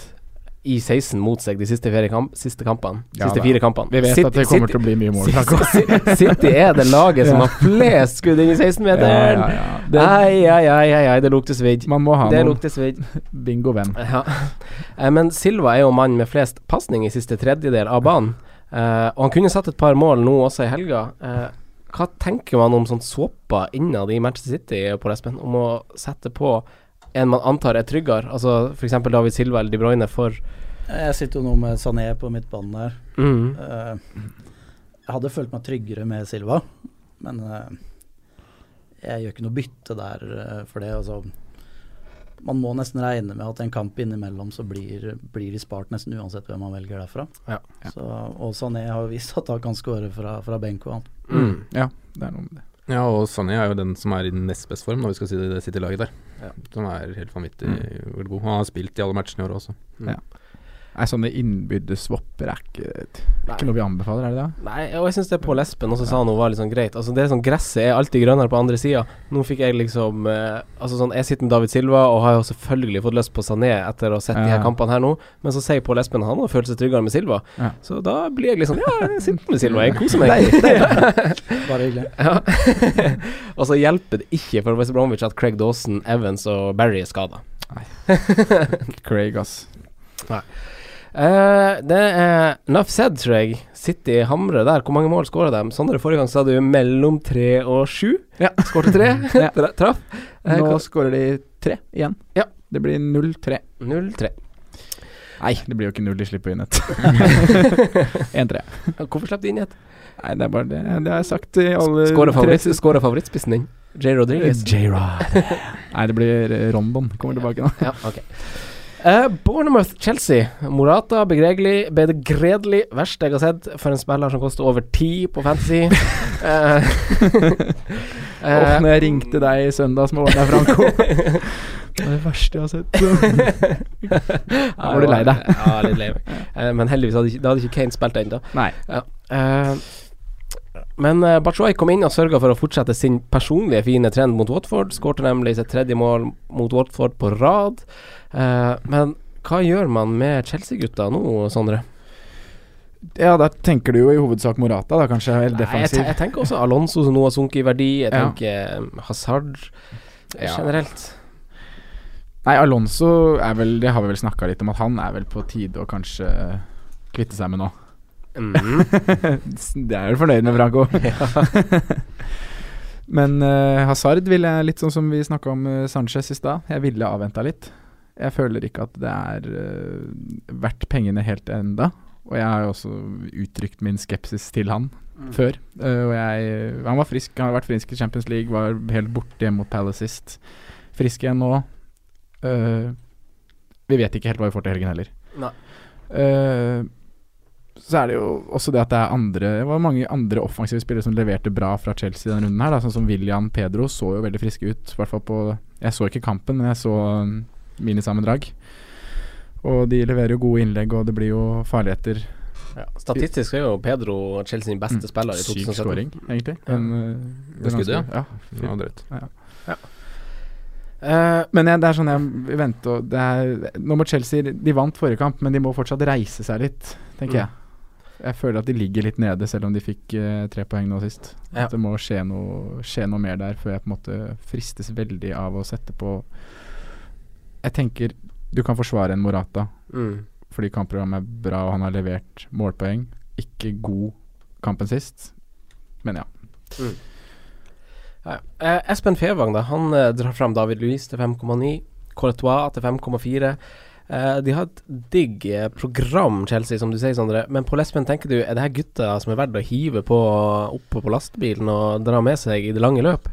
i 16 mot seg de siste, fire kamp siste kampene.
Ja,
siste
da.
fire kampene.
Vi vet at det kommer til å bli mye mål. Franco.
City, City er det laget som har flest skudd inn i 16-meteren.
Ja, ja, ja. Det-
Ai, ai, ai, ai, ai, det lukter svidd.
Man må ha
Det
noen
lukter svidd.
bingo-venn.
Ja. Eh, Men Silva er jo mannen med flest pasning i siste tredjedel av banen. Eh, og han kunne satt et par mål nå også i helga. Eh, hva tenker man om sånn såpa innad i Manchester City på Espen, om å sette på en man antar er tryggere, altså f.eks. David Silva eller De Bruyne for
Jeg sitter jo nå med Sané på midtbanen der.
Mhm.
Eh, jeg hadde følt meg tryggere med Silva, men eh, jeg gjør ikke noe bytte der eh, for det. Altså, man må nesten regne med at en kamp innimellom så blir, blir de spart nesten uansett hvem man velger derfra.
Ja.
Så, og Sané har jo vist at han kan skåre fra, fra benk og annet.
Mm.
Ja, det er noe med det.
Ja, og Sané er jo den som er i nest best form, når vi skal si det, det sitter i laget der.
Ja.
Som er helt vanvittig god. Han har spilt i alle matchene i år også.
Ja. Nei, sånne innbyrdes swapper er ikke, det er ikke
Nei.
noe vi anbefaler, er det det?
Nei, og jeg syns det Pål Espen også sa noe var litt sånn greit. Altså det er sånn Gresset er alltid grønnere på andre sida. Nå fikk jeg liksom eh, Altså sånn Jeg sitter med David Silva og har jo selvfølgelig fått lyst på Sané etter å ha sett de her
Ja.
kampene her nå, men så sier Pål Espen han har følt seg tryggere med Silva.
Ja.
Så da blir jeg liksom Ja, jeg sitter med Silva, jeg koser meg.
Bare hyggelig.
Ja. og så hjelper det ikke for West Bromwich at Craig Dawson, Evans og Barry er skada.
Craig, ass.
Eh, det er Nuff said, tror jeg. City hamrer der. Hvor mange mål skåra de? Sondre, forrige gang sa du mellom tre og sju.
Ja.
Skårte tre.
Ja.
Tra- Traff. Eh,
Nå
hva-
skårer de tre igjen.
Ja.
Det blir 0-3.
0-3.
Nei, det blir jo ikke null de slipper inn et. 1-3.
Hvorfor slapp de inn et?
Nei, det er bare det, det har jeg sagt i alle
Skåra
tre
favoritt, skårer favorittspissen din. J. Rodriguez.
Nei, det blir eh, Rondon. Kommer tilbake nå.
Ja, ok. Eh, Bournemouth-Chelsea. Morata begregelig, bedegredelig, verst jeg har sett for en spiller som koster over ti på Fantasy. Eh,
Åh,
eh,
når jeg ringte deg i søndagsmorgen, der, Franco Det var det verste jeg har sett.
Da
var du lei deg.
Ja, litt lei meg. Eh, Men heldigvis hadde ikke, da hadde ikke Kane spilt ennå.
Nei.
Eh, men uh, Bachoy kom inn og sørga for å fortsette sin personlige fine trend mot Watford. Skårte nemlig sitt tredje mål mot Watford på rad. Eh, men hva gjør man med Chelsea-gutta nå, Sondre?
Ja, da tenker du jo i hovedsak Morata, da kanskje. Eller
Nei, jeg, te-
defensiv.
jeg tenker også Alonso, som nå har sunket i verdi. Jeg
Ja.
tenker eh, Hazard eh,
Ja.
generelt.
Nei, Alonso er vel Det har vi vel snakka litt om, at han er vel på tide å kanskje kvitte seg med nå.
Mhm.
Det er jeg vel fornøyd med, Franco. Men eh, Hazard vil jeg litt sånn som vi snakka om eh, Sanchez i stad. Jeg ville avventa litt. Jeg føler ikke at det er eh, verdt pengene helt enda Og jeg har jo også uttrykt min skepsis til han før. Eh, og jeg, han var frisk, han har vært frisk i Champions League, var helt borte hjemme mot Palace sist. Frisk igjen nå. Eh, vi vet ikke helt hva vi får til helgen heller.
Nei.
Eh, så er det jo også det at det er andre Det var mange andre offensive spillere som leverte bra fra Chelsea denne runden her. Da. Sånn som William Pedro så jo veldig friske ut. I hvert fall på Jeg så ikke kampen, men jeg så um, minisammendrag. Og de leverer jo gode innlegg, og det blir jo farligheter.
ja. Statistisk er jo Pedro Chelsea sin beste spiller i
Mm. Syk
2017.
scoring, egentlig. Men, uh,
Det skuddet, ja.
ja.
Ja, drøyt.
Eh,
Men jeg, det er sånn jeg venter og det er, Nå må Chelsea De vant forrige kamp, men de må fortsatt reise seg litt, tenker
Mm.
jeg. Jeg føler at de ligger litt nede, selv om de fikk eh, tre poeng nå sist.
Ja.
At det må skje noe, skje noe mer der, før jeg på en måte fristes veldig av å sette på Jeg tenker du kan forsvare en Morata,
mm.
fordi kampprogrammet er bra og han har levert målpoeng. Ikke god kampen sist, men ja.
Ja, ja. Eh, Espen Fevang da, han eh, drar fram David Luiz til 5,9, Courtois til 5,4. Eh, de har et digg eh, program, Chelsea, som du sier, Sondre. Men Pål Espen, tenker du, er det her gutta som er verdt å hive på oppå på lastebilen og dra med seg i det lange løp?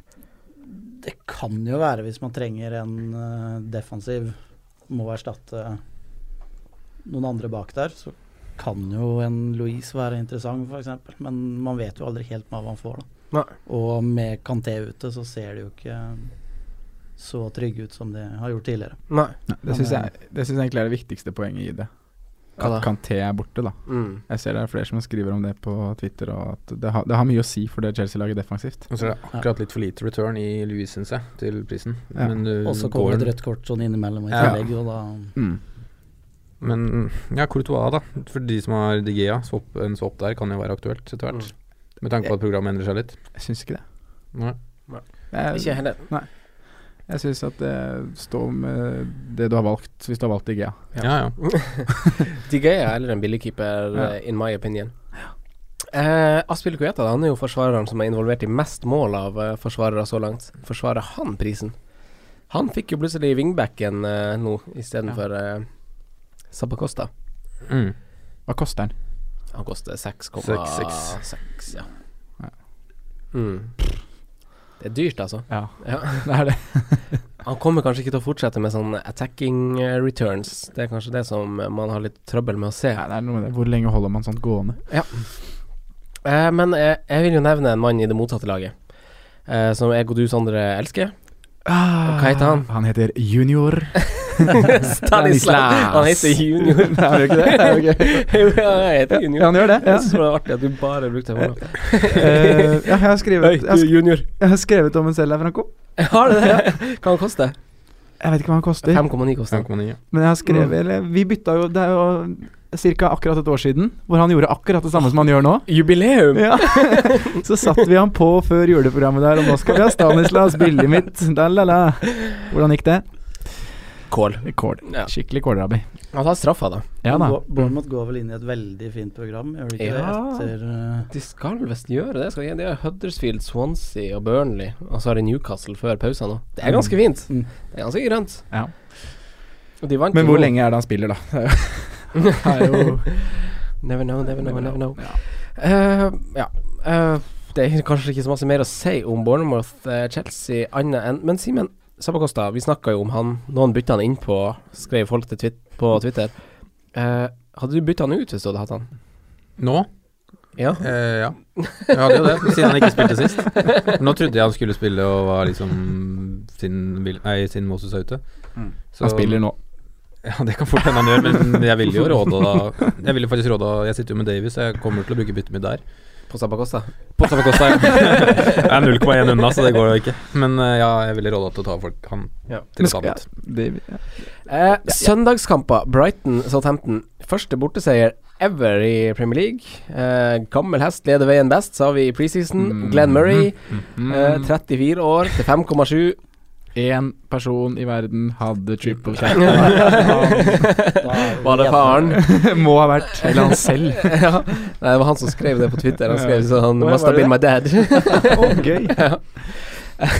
Det kan jo være hvis man trenger en eh, defensiv, må erstatte noen andre bak der, så kan jo en Louise være interessant, f.eks. Men man vet jo aldri helt hva man får, da.
Nei.
Og med Kanté ute, så ser de jo ikke så trygge ut som de har gjort tidligere.
Nei.
Det syns jeg, det synes jeg egentlig er det viktigste poenget i det.
Ja da.
At Kanté er borte, da.
Mm.
Jeg ser det er flere som skriver om det på Twitter, og at det har, det har mye å si for det Chelsea-laget defensivt.
Og så er det akkurat litt for lite return i Louis, syns jeg, til prisen.
Ja.
Men eh, du
Og så
går
kommer
den-
et rødt kort sånn innimellom i
Ja.
tillegg, og da
Mm.
Men ja, Courtois, da. For de som har De Gea, swap, en swap der kan jo være aktuelt etter hvert. Med tanke på at programmet endrer seg litt.
Jeg syns ikke det.
Nei.
Ikke
Jeg,
heller.
jeg syns at det står med det du har valgt, hvis du har valgt IGA.
Ja, ja.
De Gea eller en billigkeeper,
Ja.
eh, in my opinion. Eh, Aspil Kueta han er jo forsvareren som er involvert i mest mål av eh, forsvarere så langt. Forsvarer han prisen? Han fikk jo plutselig wingbacken eh, nå istedenfor ja. eh, Sabacosta.
Mm.
Hva koster den?
Han koster 6,6.
6,6.
Ja. Mm.
Ja.
Det er dyrt, altså.
Ja, det er det.
han kommer kanskje ikke til å fortsette med sånn attacking eh, returns. Det er kanskje det som eh, man har litt trøbbel med å se.
det er noe med det. Hvor lenge holder man sånt gående?
Ja. Eh, men eh, jeg vil jo nevne en mann i det motsatte laget, eh, som jeg og du, Sondre, elsker. Og hva heter han?
Han heter Junior.
Stanislas. Han heter Junior.
Nei, han gjør ikke det? Ja, ok.
jo, ja, jeg heter Junior.
Ja, han gjør det, ja.
Jeg synes det var artig at du bare brukte det
Eh, ja, jeg har skrevet
Oi,
jeg har
du
sk-
junior.
Jeg har skrevet om en selv her, Franco.
Har du det? Hva han koster
Jeg vet ikke hva han koster.
5,9 koster han.
5,9. ja.
Men jeg har skrevet
Mm.
eller, Vi bytta jo Det er jo ca. akkurat et år siden, hvor han gjorde akkurat det samme som han gjør nå.
Jubileum!
Ja. Så satte vi han på før juleprogrammet der, og nå skal vi ha Stanislas, bildet mitt, la, la, la. Hvordan gikk det?
Kål.
Kål.
Ja.
Skikkelig kålrabbi.
Han tar straffa, da.
Ja da.
Bour- Bournemouth går vel inn i et veldig fint program, gjør de ikke
Ja.
det? Etter eh,
De skal visst gjøre det. Skal de, ikke? de har Huddersfield, Swansea og Burnley, og så har de Newcastle før pausen nå. Det er ganske fint.
Mm.
Det er ganske grønt.
Ja.
Og de vant
Men
jo
hvor
nå.
lenge er det han spiller, da? Det er jo
Never know, never know, never know.
Ja.
Eh, ja. Eh, det er kanskje ikke så masse mer å si om Bournemouth, eh, Chelsea, annet enn Men Simen Sabakosta, vi snakka jo om han. Noen bytta han innpå, skrev folk til twit på Twitter. Eh, hadde du bytta han ut hvis du hadde hatt han?
Nå?
Ja.
Eh, ja. Jeg hadde jo det, siden han ikke spilte sist. Men Nå trodde jeg han skulle spille og var liksom siden, Vil- nei, siden Moses er ute.
Mm.
Så-
Han spiller nå.
Ja, det kan fort hende han gjør, men jeg ville jo råde da Jeg ville faktisk råde Jeg sitter jo med Davies, så jeg kommer til å bruke byttet mitt der.
På Sabakosta?
På Sabakosta, ja. Jeg er 0,1 unna, så det går jo ikke. Men eh, ja, jeg ville råda til å ta folk han
Ja.
til å ta mitt.
Det- ja.
Eh, Søndagskamper. Brighton, Southampton. Første borteseier ever i Premier League. Eh, gammel hest leder veien best, sa vi i preseason. Mm. Glenn Murray,
Mm.
eh, 34 år til 5,7.
Én person i verden hadde triple check.
da-
Var det faren?
Må ha vært Eller han selv.
ja. Nei, det var han som skrev det på Twitter. Han skrev sånn
Hva
Must have
var det
been my dad.
Å, gøy.
Ja.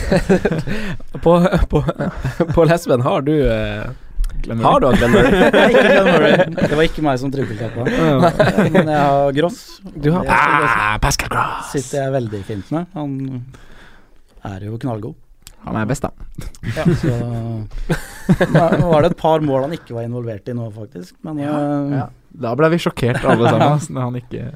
på, på, på lesben har du eh, Har du hatt Glenn Murray?
Nei, ikke Glenn Murray. Det var ikke meg som trippelkappa. Eh, Men jeg har Gross.
Du har- Ah!
Det er-
Ah, Pascal Gross.
det sitter jeg veldig fint med. Han er jo knallgod.
Han er best, da.
Så Nå var det et par mål han ikke var involvert i nå, faktisk. Men, eh,
Da ble vi sjokkert alle sammen. altså, Når han ikke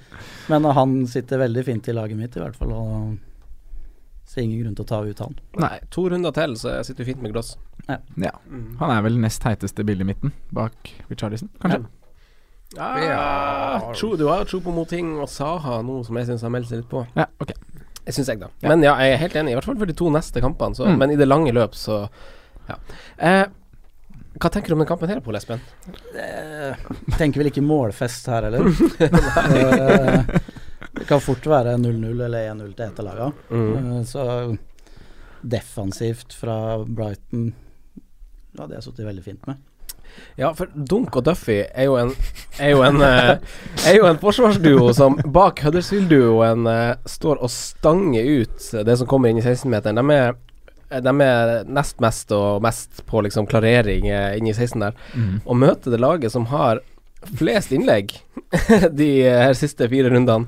men han sitter veldig fint i laget mitt, i hvert fall. Og så ingen grunn til å ta ut han.
Nei, to runder til, så jeg sitter jo fint med glass.
Ja.
Mm.
Han er vel nest heiteste billig i midten, bak Richarlison, kanskje.
Ja, tro, du har jo tro på Moting og Saha nå, som jeg syns har meldt seg litt på.
Ja, ok.
Jeg syns jeg, da. Men ja, jeg er helt enig, i hvert fall for de to neste kampene. Så,
Mm.
Men i det lange løp, så ja. Eh, hva tenker du om den kampen her, Pål Espen?
Tenker vel ikke målfest her heller. Eh, Det kan fort være 0-0 eller 1-0 til et av laga.
Mm.
Eh, Så defensivt fra Brighton ja, det har jeg sittet veldig fint med.
Ja, for Dunk og Duffy er jo en Er jo en, eh, er jo en forsvarsduo som bak Huddersfield-duoen eh, står og stanger ut det som kommer inn i 16-meteren. De er de er nest mest og mest på liksom klarering eh, inn i 16 der. Og møter det laget som har flest innlegg de eh, her siste fire rundene.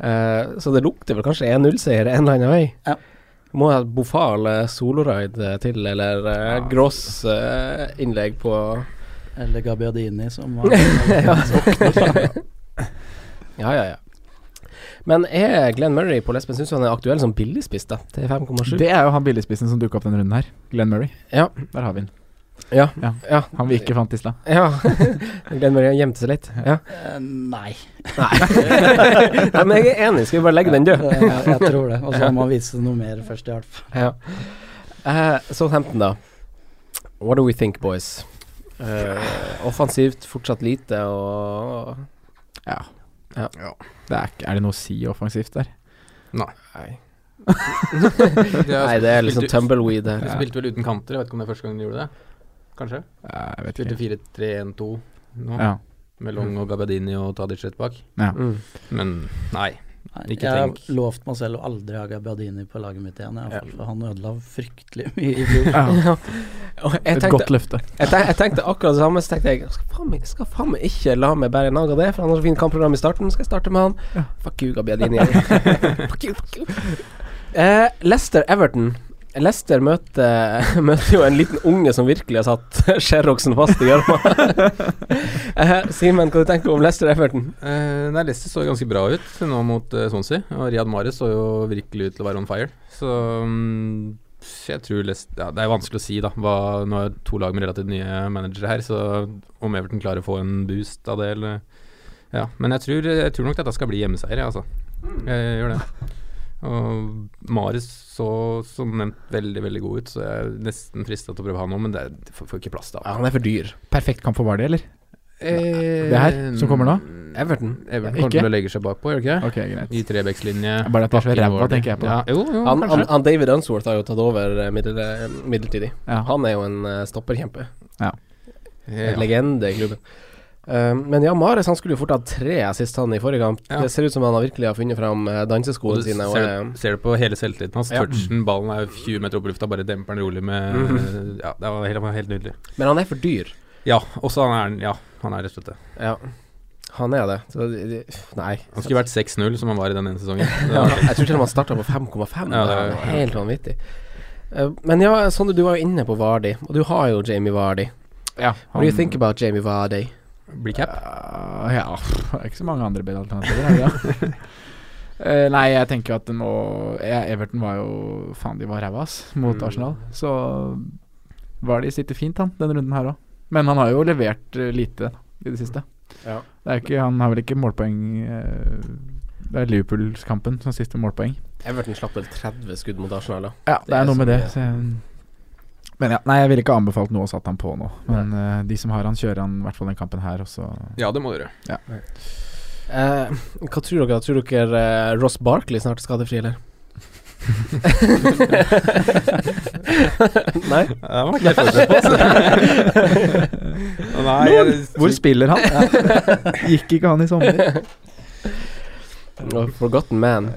Eh, så det lukter vel kanskje 1-0-seier en eller annen vei.
Ja.
Må ha et bofal eh, soloride eh, til, eller eh, gross eh, innlegg på
Eller Gabbiadini, som Eh, var
Ja, ja, ja. Men er Glenn Murray på Lesben syns han er aktuell som billigspiss, da? Til 5,7?
Mm. Det er jo han billigspissen som dukka opp denne runden her. Glenn Murray.
Ja.
Der har vi han.
Ja.
Ja.
ja.
Han vi ikke fant i stad.
Ja. Glenn Murray gjemte seg litt. Ja.
Eh, Nei.
Nei, men jeg er enig, skal vi bare legge den død?
Eh, Jeg tror det. Og så må man vise noe mer førstehjelp.
Ja. Eh, Southampton, da. What do we think, boys? Eh, offensivt fortsatt lite og
Ja.
Ja.
Det er, ikke- er det noe å si offensivt der?
Nei,
Nei,
det er liksom tumbleweed her.
Du spilte vel uten kanter, jeg vet ikke om det er første gang du gjorde det? Kanskje?
Ja, Jeg vet
Spilte
ikke.
4-3-1-2 nå,
Ja.
med Long og Gabadini og Tadic rett bak.
Mm.
Men nei.
Nei,
Ikke
Jeg har
tenk.
lovt meg selv å aldri ha Gabbiadini på laget mitt igjen. i hvert fall, for Han ødela fryktelig mye i fjor.
Ja.
Ja. Og jeg
Et
tenkte-
godt løfte.
Jeg, tenk, jeg tenkte akkurat det samme, så tenkte jeg jeg skal faen meg, jeg skal faen meg ikke la meg bære nag av det, for han har så fint kampprogram i starten. Skal jeg starte med han? Fuck you, Gabbiadini. fuck you, fuck you. Eh, Leicester Everton. Leicester møter, møter jo en liten unge som virkelig har satt Sherroxen fast i gjørma. eh, Simen, hva du tenker du om Leicester Everton?
Eh, nei, Leicester så ganske bra ut nå mot eh, Swansea, og Riyad Mahrez så jo virkelig ut til å være on fire. Så mm, jeg tror Leicester ja, Det er vanskelig å si, da. Hva, nå er det to lag med relativt nye managere her, så om Everton klarer å få en boost av det, eller Ja. Men jeg tror, jeg tror nok dette skal bli hjemmeseier, jeg, altså.
Mm.
Jeg gjør det. Og Mahrez så som nevnt veldig, veldig god ut, så jeg er nesten frista til å prøve han nå, men det er- får, får ikke plass da.
han er for dyr.
Perfekt kamp for Vardy, eller?
Eh, mm,
Det her, som kommer nå?
Everton.
Everton
Ikke?
kommer til å legge seg bakpå, gjør det ikke?
Ok, greit.
I trebekslinje.
Bare at det er så
Bakken
ræva,
vår.
tenker jeg på.
Ja, jo, jo,
han,
kanskje.
han, han David Unsworth har jo tatt over eh, middel, eh, midlertidig.
Ja.
Han er jo en eh, stopperkjempe.
Ja.
En legende i klubben. Eh, men ja, Mares han skulle jo fort hatt tre assist han i forrige kamp.
Ja.
Det ser ut som han har virkelig har funnet fram eh,
Og
danseskoene
du
sine. Og,
ser,
eh,
ser du på hele selvtilliten hans.
Ja.
Touchen, ballen er jo 20 meter opp i lufta, bare demper den rolig med
Mhm.
Ja, det var helt, det var helt nydelig.
men han er for dyr.
Ja, også han er Ja, han er rett og slett det.
Ja. Han er det. Så, de- de- nei.
Han skulle vært 6-0, som han var i den ene sesongen.
Ja, jeg tror til og med han starta på 5,5.
Ja,
det
det er-
er helt vanvittig. Eh, Men ja, Sondre, du var jo inne på Vardi, og du har jo Jamie Vardi.
Ja,
What do you
han-
think about Jamie Vardi?
Blir cap?
Eh, ja, pff, det er ikke så mange andre bedre alternativer. er det det? Eh, nei, jeg tenker jo at det må ja, Everton var jo Faen, de var ræva, ass, mot
Mm.
Arsenal. Så var de sitter fint, han, denne runden her òg. Men han har jo levert eh, lite i det siste.
Ja.
Det er ikke, han har vel ikke målpoeng eh, Det er Liverpool-kampen som siste målpoeng.
Everton slapp vel 30 skudd mot Arsenal, da.
Ja, det, er noe
så
med det.
mye.
Så jeg, men ja, nei, jeg ville ikke anbefalt noe og satt han på nå. Men eh, de som har han, kjører han i hvert fall den kampen her, og så
Ja, det må du gjøre.
Ja.
Eh, hva tror dere? Tror dere eh, Ross Barkley snart er skadefri, eller? Nei?
Det var ikke jeg forberedt på. altså. Nei, jeg-
Hvor spiller han? Gikk ikke han i sommer?
Oh, Forgotten man.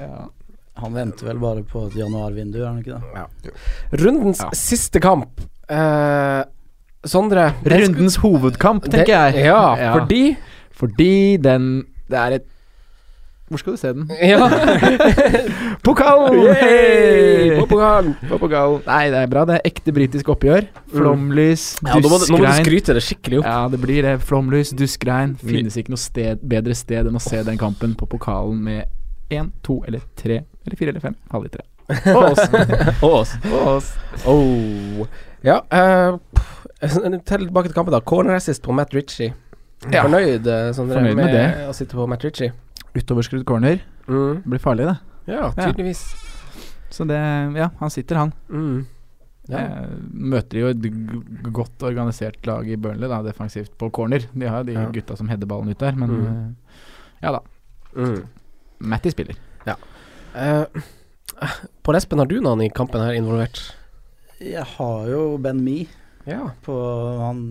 Han venter vel bare på et januarvindu, er han ikke det?
Rundens siste kamp. Eh, Sondre den sk-
Rundens hovedkamp,
Det-
tenker jeg.
ja, fordi-
Fordi den Det er et Hvor skal du se den?
Ja,
Pokalen!
Yay! På pokalen.
På pokalen. Nei, det er bra. Det er ekte britisk oppgjør. Flomlys,
Ja, nå, må du, nå må du
duskregn.
skryte det skikkelig opp.
Ja, det blir det. Flomlys, duskregn. Finnes ikke noe sted, bedre sted enn å se den kampen på pokalen med én, to eller tre eller fire eller fem halvlitere. Og oss.
Og oss.
Og oss.
Oh. Ja, eh, pff, tilbake til kampen, da. Corner assist på Matt Ritchie.
Ja.
Fornøyd, eh, Sondre,
Fornøyd med
å sitte på Matt Ritchie?
Utoverskrudd corner.
Mm.
Det blir farlig, det.
Ja,
Ja.
tydeligvis.
Så det Ja, han sitter, han.
Mm. Ja.
Eh, Møter jo et g- godt organisert lag i Burnley, da, defensivt på corner. De har jo de
Ja.
gutta som header ballen ut der, men
Mm.
eh, ja da.
Mm.
Matty spiller.
Eh, Pål Espen, har du noen i kampen her involvert?
Jeg har jo Ben Me
Ja.
på han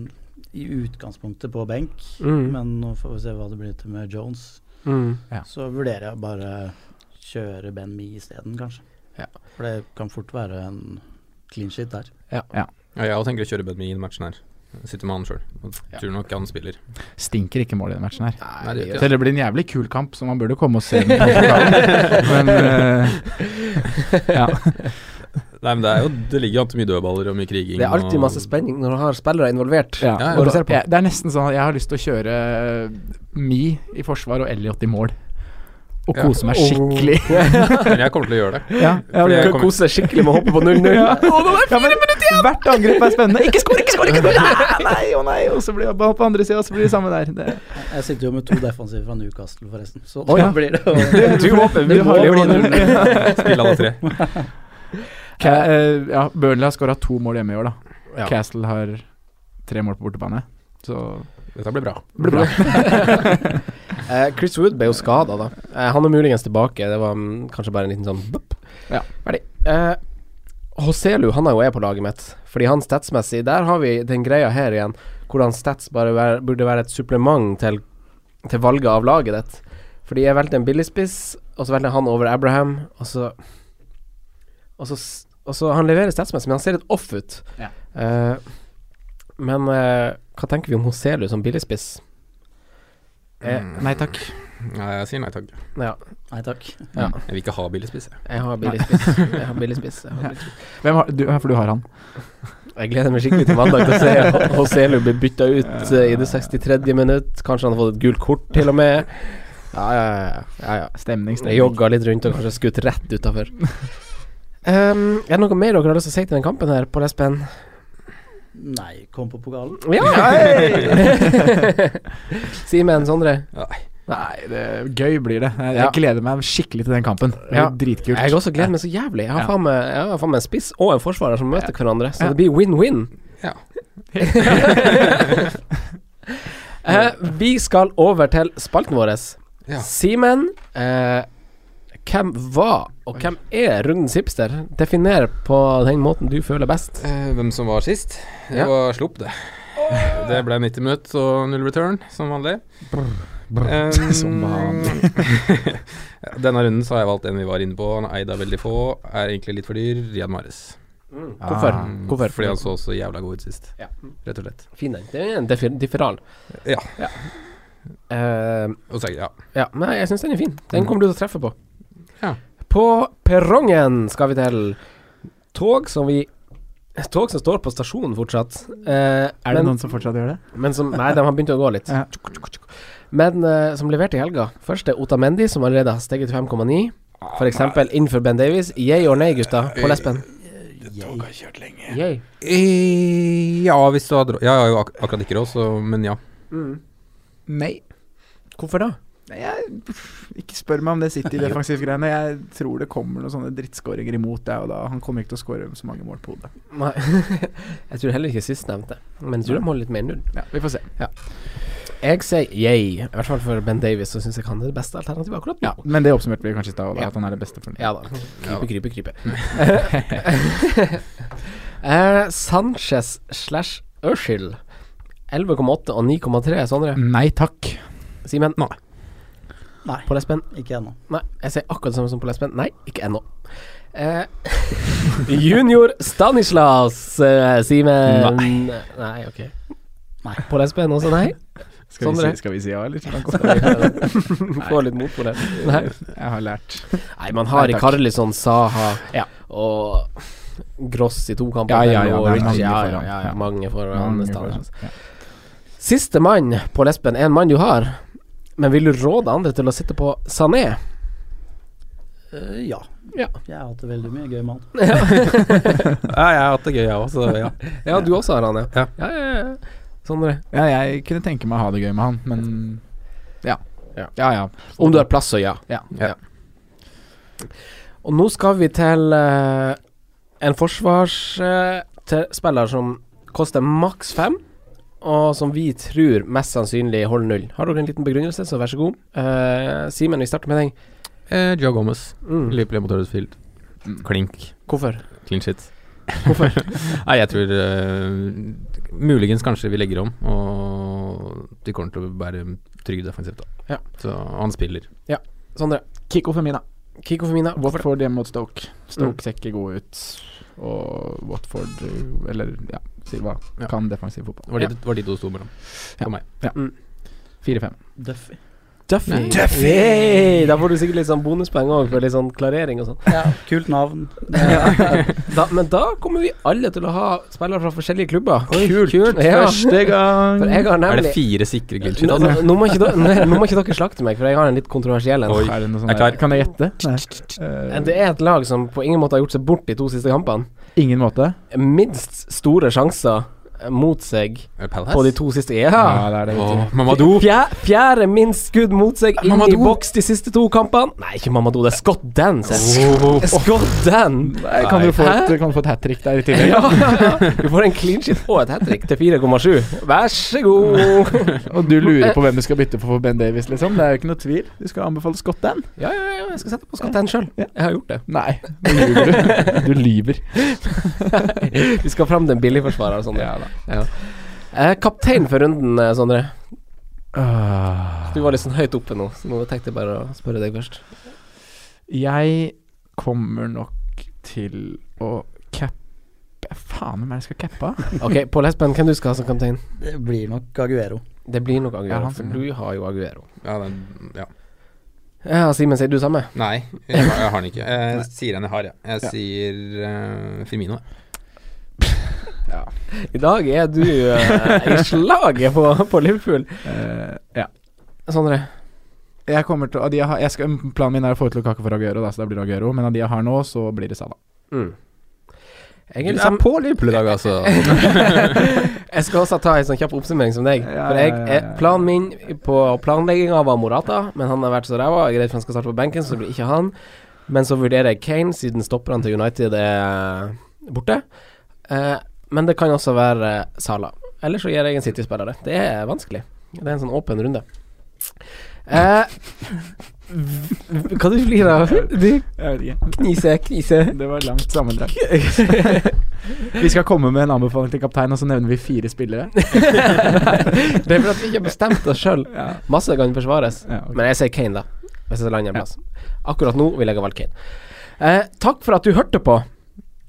i utgangspunktet på benk,
Mm.
men nå får vi se hva det blir til med Jones.
Mm.
Ja.
Så vurderer jeg bare kjøre Ben Me isteden, kanskje.
Ja.
For det kan fort være en clean shit der.
Ja, jeg også tenker å kjøre Bedme i den matchen her. Sitter med han sjøl. Tror nok han spiller.
Stinker ikke mål i den matchen her.
Nei, det gjør
Selv det blir en jævlig kul kamp, så man burde komme og se den. på pokalen. men eh, ja.
Nei, men det, er jo, det ligger jo alltid mye dødballer og mye kriging.
Det er alltid
og-
masse spenning når du har spillere involvert.
Ja,
ja,
og
du
da-
ser på.
jeg- det er nesten sånn at jeg har lyst til å kjøre Me i forsvar og Elliot i mål. Og
Ja.
kose meg skikkelig.
Men jeg kommer til å gjøre det.
Ja, ja,
Fordi jeg
det-
Du kan kose deg skikkelig med å hoppe på 0-0.
Ja. Ja, men Hvert angrep er spennende. Ikke skår, ikke skår! Ikke skår! Nei, nei, å nei. Og så blir det ball på andre sida, og så blir det samme der. Det.
Jeg sitter jo med to defensive fra Newcastle, forresten. Så
Å, ja.
da blir det
Du
jo
håper vi må
Du har jo
bli
en-
0-0.
Spille alle tre.
Ca- eh, ja, Burnley har skåra to mål hjemme i år, da.
Ja.
Castle har tre mål på bortebane. Så
Dette blir bra.
det blir bra.
Eh, Chris Wood ble jo skada, da. Eh, han er muligens tilbake. Det var mm, kanskje bare en liten sånn bup.
Ja.
Ferdig. Eh, Hoselu han er jo jeg på laget mitt, fordi han statsmessig Der har vi den greia her igjen, hvordan stats bare vær, burde være et supplement til, til valget av laget ditt. Fordi jeg valgte en billigspiss, og så valgte jeg han over Abraham, og så Og så, s- Altså, han leverer statsmessig, men han ser litt off ut.
Ja.
Eh, men eh, hva tenker vi om Hoselu som billigspiss? Eh,
Mm.
nei takk.
Nei, jeg sier nei takk.
Ja. Nei takk. Ja.
Jeg vil ikke ha billigspiss. jeg.
Jeg har billigspiss. Jeg har billigspiss. Jeg, har billigspiss.
Hvem har, du, ja, for du har han.
jeg gleder meg skikkelig til mandag til å se Hoselu bli bytta ut eh, i det 63. minutt. Kanskje han har fått et gult kort, til og med. Ja, ja, ja. ja, ja.
Stemning, stemning.
Jeg jogga litt rundt og kanskje skutt rett utafor. er det noe mer dere har lyst til å si til den kampen her, på Lesben?
Nei, kom på pokalen.
Ja! Hei! Simen, Sondre?
Nei, det, gøy blir det. Jeg, jeg gleder meg skikkelig til den kampen. Det blir
Ja.
dritkult.
Jeg også gleder meg så jævlig. Jeg har,
Ja.
faen, meg, jeg har faen meg en spiss og en forsvarer som møter hverandre, så det blir win-win.
Ja.
Eh, vi skal over til spalten vår.
Ja.
Simen, eh, hvem var og hvem er rundens hipster? Definer på den måten du føler best.
Eh, hvem som var sist? Det
Ja.
var Slopp, det. Det ble 90 minutter og null return, som vanlig. Um,
Som vanlig.
Denne runden så har jeg valgt en vi var inne på. Han er eid av veldig få. Er egentlig litt for dyr. Riyad Mahrez.
Hvorfor?
Ah.
Hvorfor?
Fordi han så så jævla god ut sist.
Ja.
Rett og slett.
Fin den. Det er en differ differal.
Ja.
Ja. Eh,
Og så, ja.
ja. Nei, jeg syns den er fin. Den
Mm.
kommer du til å treffe på.
Ja.
På perrongen skal vi til tog som vi Tog som står på stasjonen fortsatt. Eh,
Er det noen som fortsatt gjør det?
men som Nei, de har begynt å gå litt.
Ja.
Tjuk, tjuk, tjuk. Men eh, som leverte i helga. Først er Otamendi, som allerede har steget til 5,9. For eksempel innenfor Ben Davies. Yay or nay, gutta, på lesben?
Toget har kjørt lenge.
Yay.
Eh, ja, hvis du har dro- Ja, jeg har jo ak akkurat ikke råd, så Men ja.
Nei.
Hvorfor da?
Nei, jeg, ikke spør meg om det sitter i defensivgreiene. Jeg tror det kommer noen sånne drittskåringer imot deg, og da han kommer ikke til å skåre så mange mål på hodet.
Nei. jeg tror heller ikke sistnevnte. Men jeg tror de holder litt mer null.
Ja, vi får se.
Jeg sier yay. I hvert fall for Ben Davies, så syns jeg han er det beste alternativet akkurat nå.
Ja, men det oppsummerte vi kanskje i stad, og da,
Ja.
at han er det beste for
Ja da.
Ja da.
Krype, krype, krype. Eh, Sanchez slash Ørshild. 11,8 og 9,3, Sondre.
Nei takk.
Simen? Mm. Nei.
Nei.
På lesben?
Ikke ennå.
Nei. Jeg sier akkurat det samme som på lesben. Nei, ikke ennå. Eh, junior Stanislas, eh, Simen Nei. ok.
Nei.
På lesben også, nei?
Skal, vi
Sondre?
si, skal vi si Sånn ja, sånn eller?
Få litt mot på det. Nei.
Jeg har lært.
Nei, man har
Nei, takk.
Karlisson, sånn Saha
Ja.
og Gross i to kamper.
Ja, ja,
der,
ja,
og
det er
Richie-
mange
ja,
foran.
Ja, ja,
Ja.
mange foran.
Mange
Stanislas.
forhold. Ja.
Siste mann på lesben er en mann du har, men vil du råde andre til å sitte på Sané?
Eh, ja.
Ja.
Jeg har hatt det veldig mye gøy med han.
ja. Jeg har hatt det gøy, jeg òg, så ja.
Ja, du også har han, ja.
Ja.
ja, ja, ja. Sondre.
Ja, jeg kunne tenke meg å ha det gøy med han, men ja.
Ja.
Ja ja.
Om du har plass, så ja.
Ja.
Ja.
Og nå skal vi til eh, en forsvarsspiller som koster maks fem, og som vi tror mest sannsynlig holder null. Har dere en liten begrunnelse, så vær så god. Eh, Simen, vi starter med deg.
Eh, Joe Gomez.
Mm.
Liverpool mot Huddersfield. Mm. Klink.
Hvorfor?
Clean shit. Nei, jeg tror eh, muligens kanskje vi legger om, og de kommer til å være trygge defensivt da.
Ja.
Så han spiller.
Sondre.
Kikko Femina.
Kiko Femina. Hvorfor?
Watford hjemme mot Stoke.
Mm.
Stoke ser ikke god ut. Og Watford, eh, eller ja, Silva,
Ja.
kan defensiv fotball.
Det var de, det var de to sto mellom. For meg.
4-5.
Duffy.
Duffy.
Nei.
Hey, da får du sikkert litt sånn bonuspoeng òg, for litt sånn klarering og sånn.
Kult navn.
Da- Men da kommer vi alle til å ha spillere fra forskjellige klubber.
kult.
Ja.
Første gang!
For jeg har
Er det
nemlig
fire sikre
Nå,
gullskitt?
altså, nå- nå, må ikke dere- nei, nå må ikke dere slakte meg, for jeg har en litt kontroversiell en.
Oi.
Er det noe sånn
Jeg er
der- Kan jeg gjette? Nei.
Eh, Det er et lag som på ingen måte har gjort seg bort de to siste kampene.
Eh, ingen måte?
Minst store sjanser eh, mot seg på de to siste. Ja!
det er det. vet du.
Åh, Mamadou.
Fjerde, fjerde minst skudd mot seg inn i
Mamadou.
boks de siste to kampene. Nei, ikke Mamadou, det er Scott Dan. sier jeg.
Åh.
Scott Dan!
Nei, kan du få
Hæ?
et, kan du få et hat trick der i tillegg?
Ja, du får en clean shit og et hat trick til 4,7. Vær så god!
Og du lurer på hvem du skal bytte for for Ben Davies, liksom? Det er jo ikke noe tvil. Du skal anbefale Scott Dan.
Ja, ja, ja, jeg skal sette på Scott Dan sjøl. Jeg har gjort det.
Nei, nå lyver du. Du lyver.
Vi skal fram til en billigforsvarer og sånn.
Ja da.
Eh, kaptein for runden, eh, Sondre.
Ah,
Du var litt sånn høyt oppe nå, så nå tenkte jeg bare å spørre deg først.
Jeg kommer nok til å Cap Faen, hvem er det jeg skal cappe?
Ok, Pål Espen, hvem du skal ha som kaptein?
Det blir nok Aguero.
Det blir nok Aguero,
Ja, han-
for du har jo Aguero.
Ja, den, ja.
Ja, Simen, sier du samme?
Nei, jeg, har- jeg har den ikke. Jeg
Nei.
sier en jeg har, jeg. Jeg
Ja.
sier eh, Firmino.
I dag er du eh, i slaget på, på Liverpool.
Eh, ja.
Sondre?
Jeg kommer til, av de jeg har, jeg skal, planen min er å få ut Lukaku for Aguero, da, så da blir det Aguero. Men av de jeg har nå, så blir det Salah.
Mm. Jeg
Du
er,
er
litt sånn-
på Liverpool i dag, altså.
jeg skal også ta en sånn kjapp oppsummering som deg.
Ja,
For jeg,
ja, ja,
jeg, planen min på planlegginga var Morata, men han har vært så ræva. Jeg er redd for han skal starte på benken, så det blir ikke han. Men så vurderer jeg Kane, siden stopperne til United er borte. Eh, men det kan også være Sala. Eller så gjør jeg en City-spillere. Det er vanskelig. Det er en sånn åpen runde. Eh, hva du flirer av? Du
Jeg vet ikke.
kniser, kniser.
Det var langt sammendrag. Vi skal komme med en anbefaling til kaptein, og så nevner vi fire spillere.
det er for at vi ikke har bestemt oss sjøl.
Ja.
Masse kan forsvares.
Ja, ok.
Men jeg sier Kane, da. Hvis jeg skal lande en plass. Akkurat nå vil jeg ha valgt Kane. Eh, takk for at du hørte på.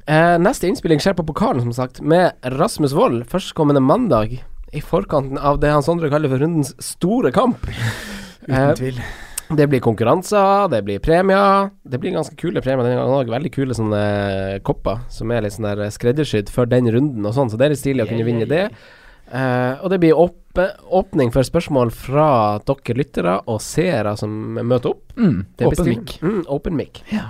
Eh, neste innspilling skjer på pokalen, som sagt, med Rasmus Wold førstkommende mandag. I forkanten av det han Sondre kaller for rundens store kamp. Eh,
Uten tvil.
Det blir konkurranser, det blir premier. Det blir ganske kule premier denne gangen òg. Veldig kule sånne kopper som er litt sånn der skreddersydd for den runden og sånn, så det er litt stilig å kunne vinne det. Eh, og det blir åp åpning for spørsmål fra dere lyttere og seere som møter opp.
Mm,
Det
åpen
bestil-
mic.
Mm, open mic.
Ja.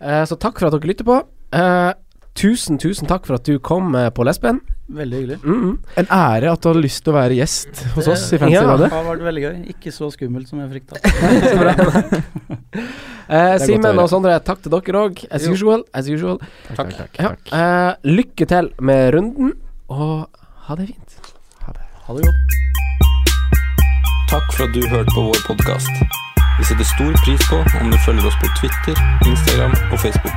Eh, så takk for at dere lytter på. Eh, tusen, tusen takk for at du kom, eh, Pål Espen.
Veldig hyggelig. Eh,
Mm,
En ære at du har lyst til å være gjest hos oss i Fancy
Ja.
Rådet.
Det har vært veldig gøy. Ikke så skummelt som jeg frykta.
så bra. Eh,
godt å
Simen
høre.
og Sondre, takk til dere òg. As
Jo.
usual. As usual.
Takk, takk, takk,
Ja,
takk.
eh, lykke til med runden, og ha det fint.
Ha det godt.
Takk for at du hørte på vår podkast. Vi setter stor pris på om du følger oss på Twitter, Instagram og Facebook.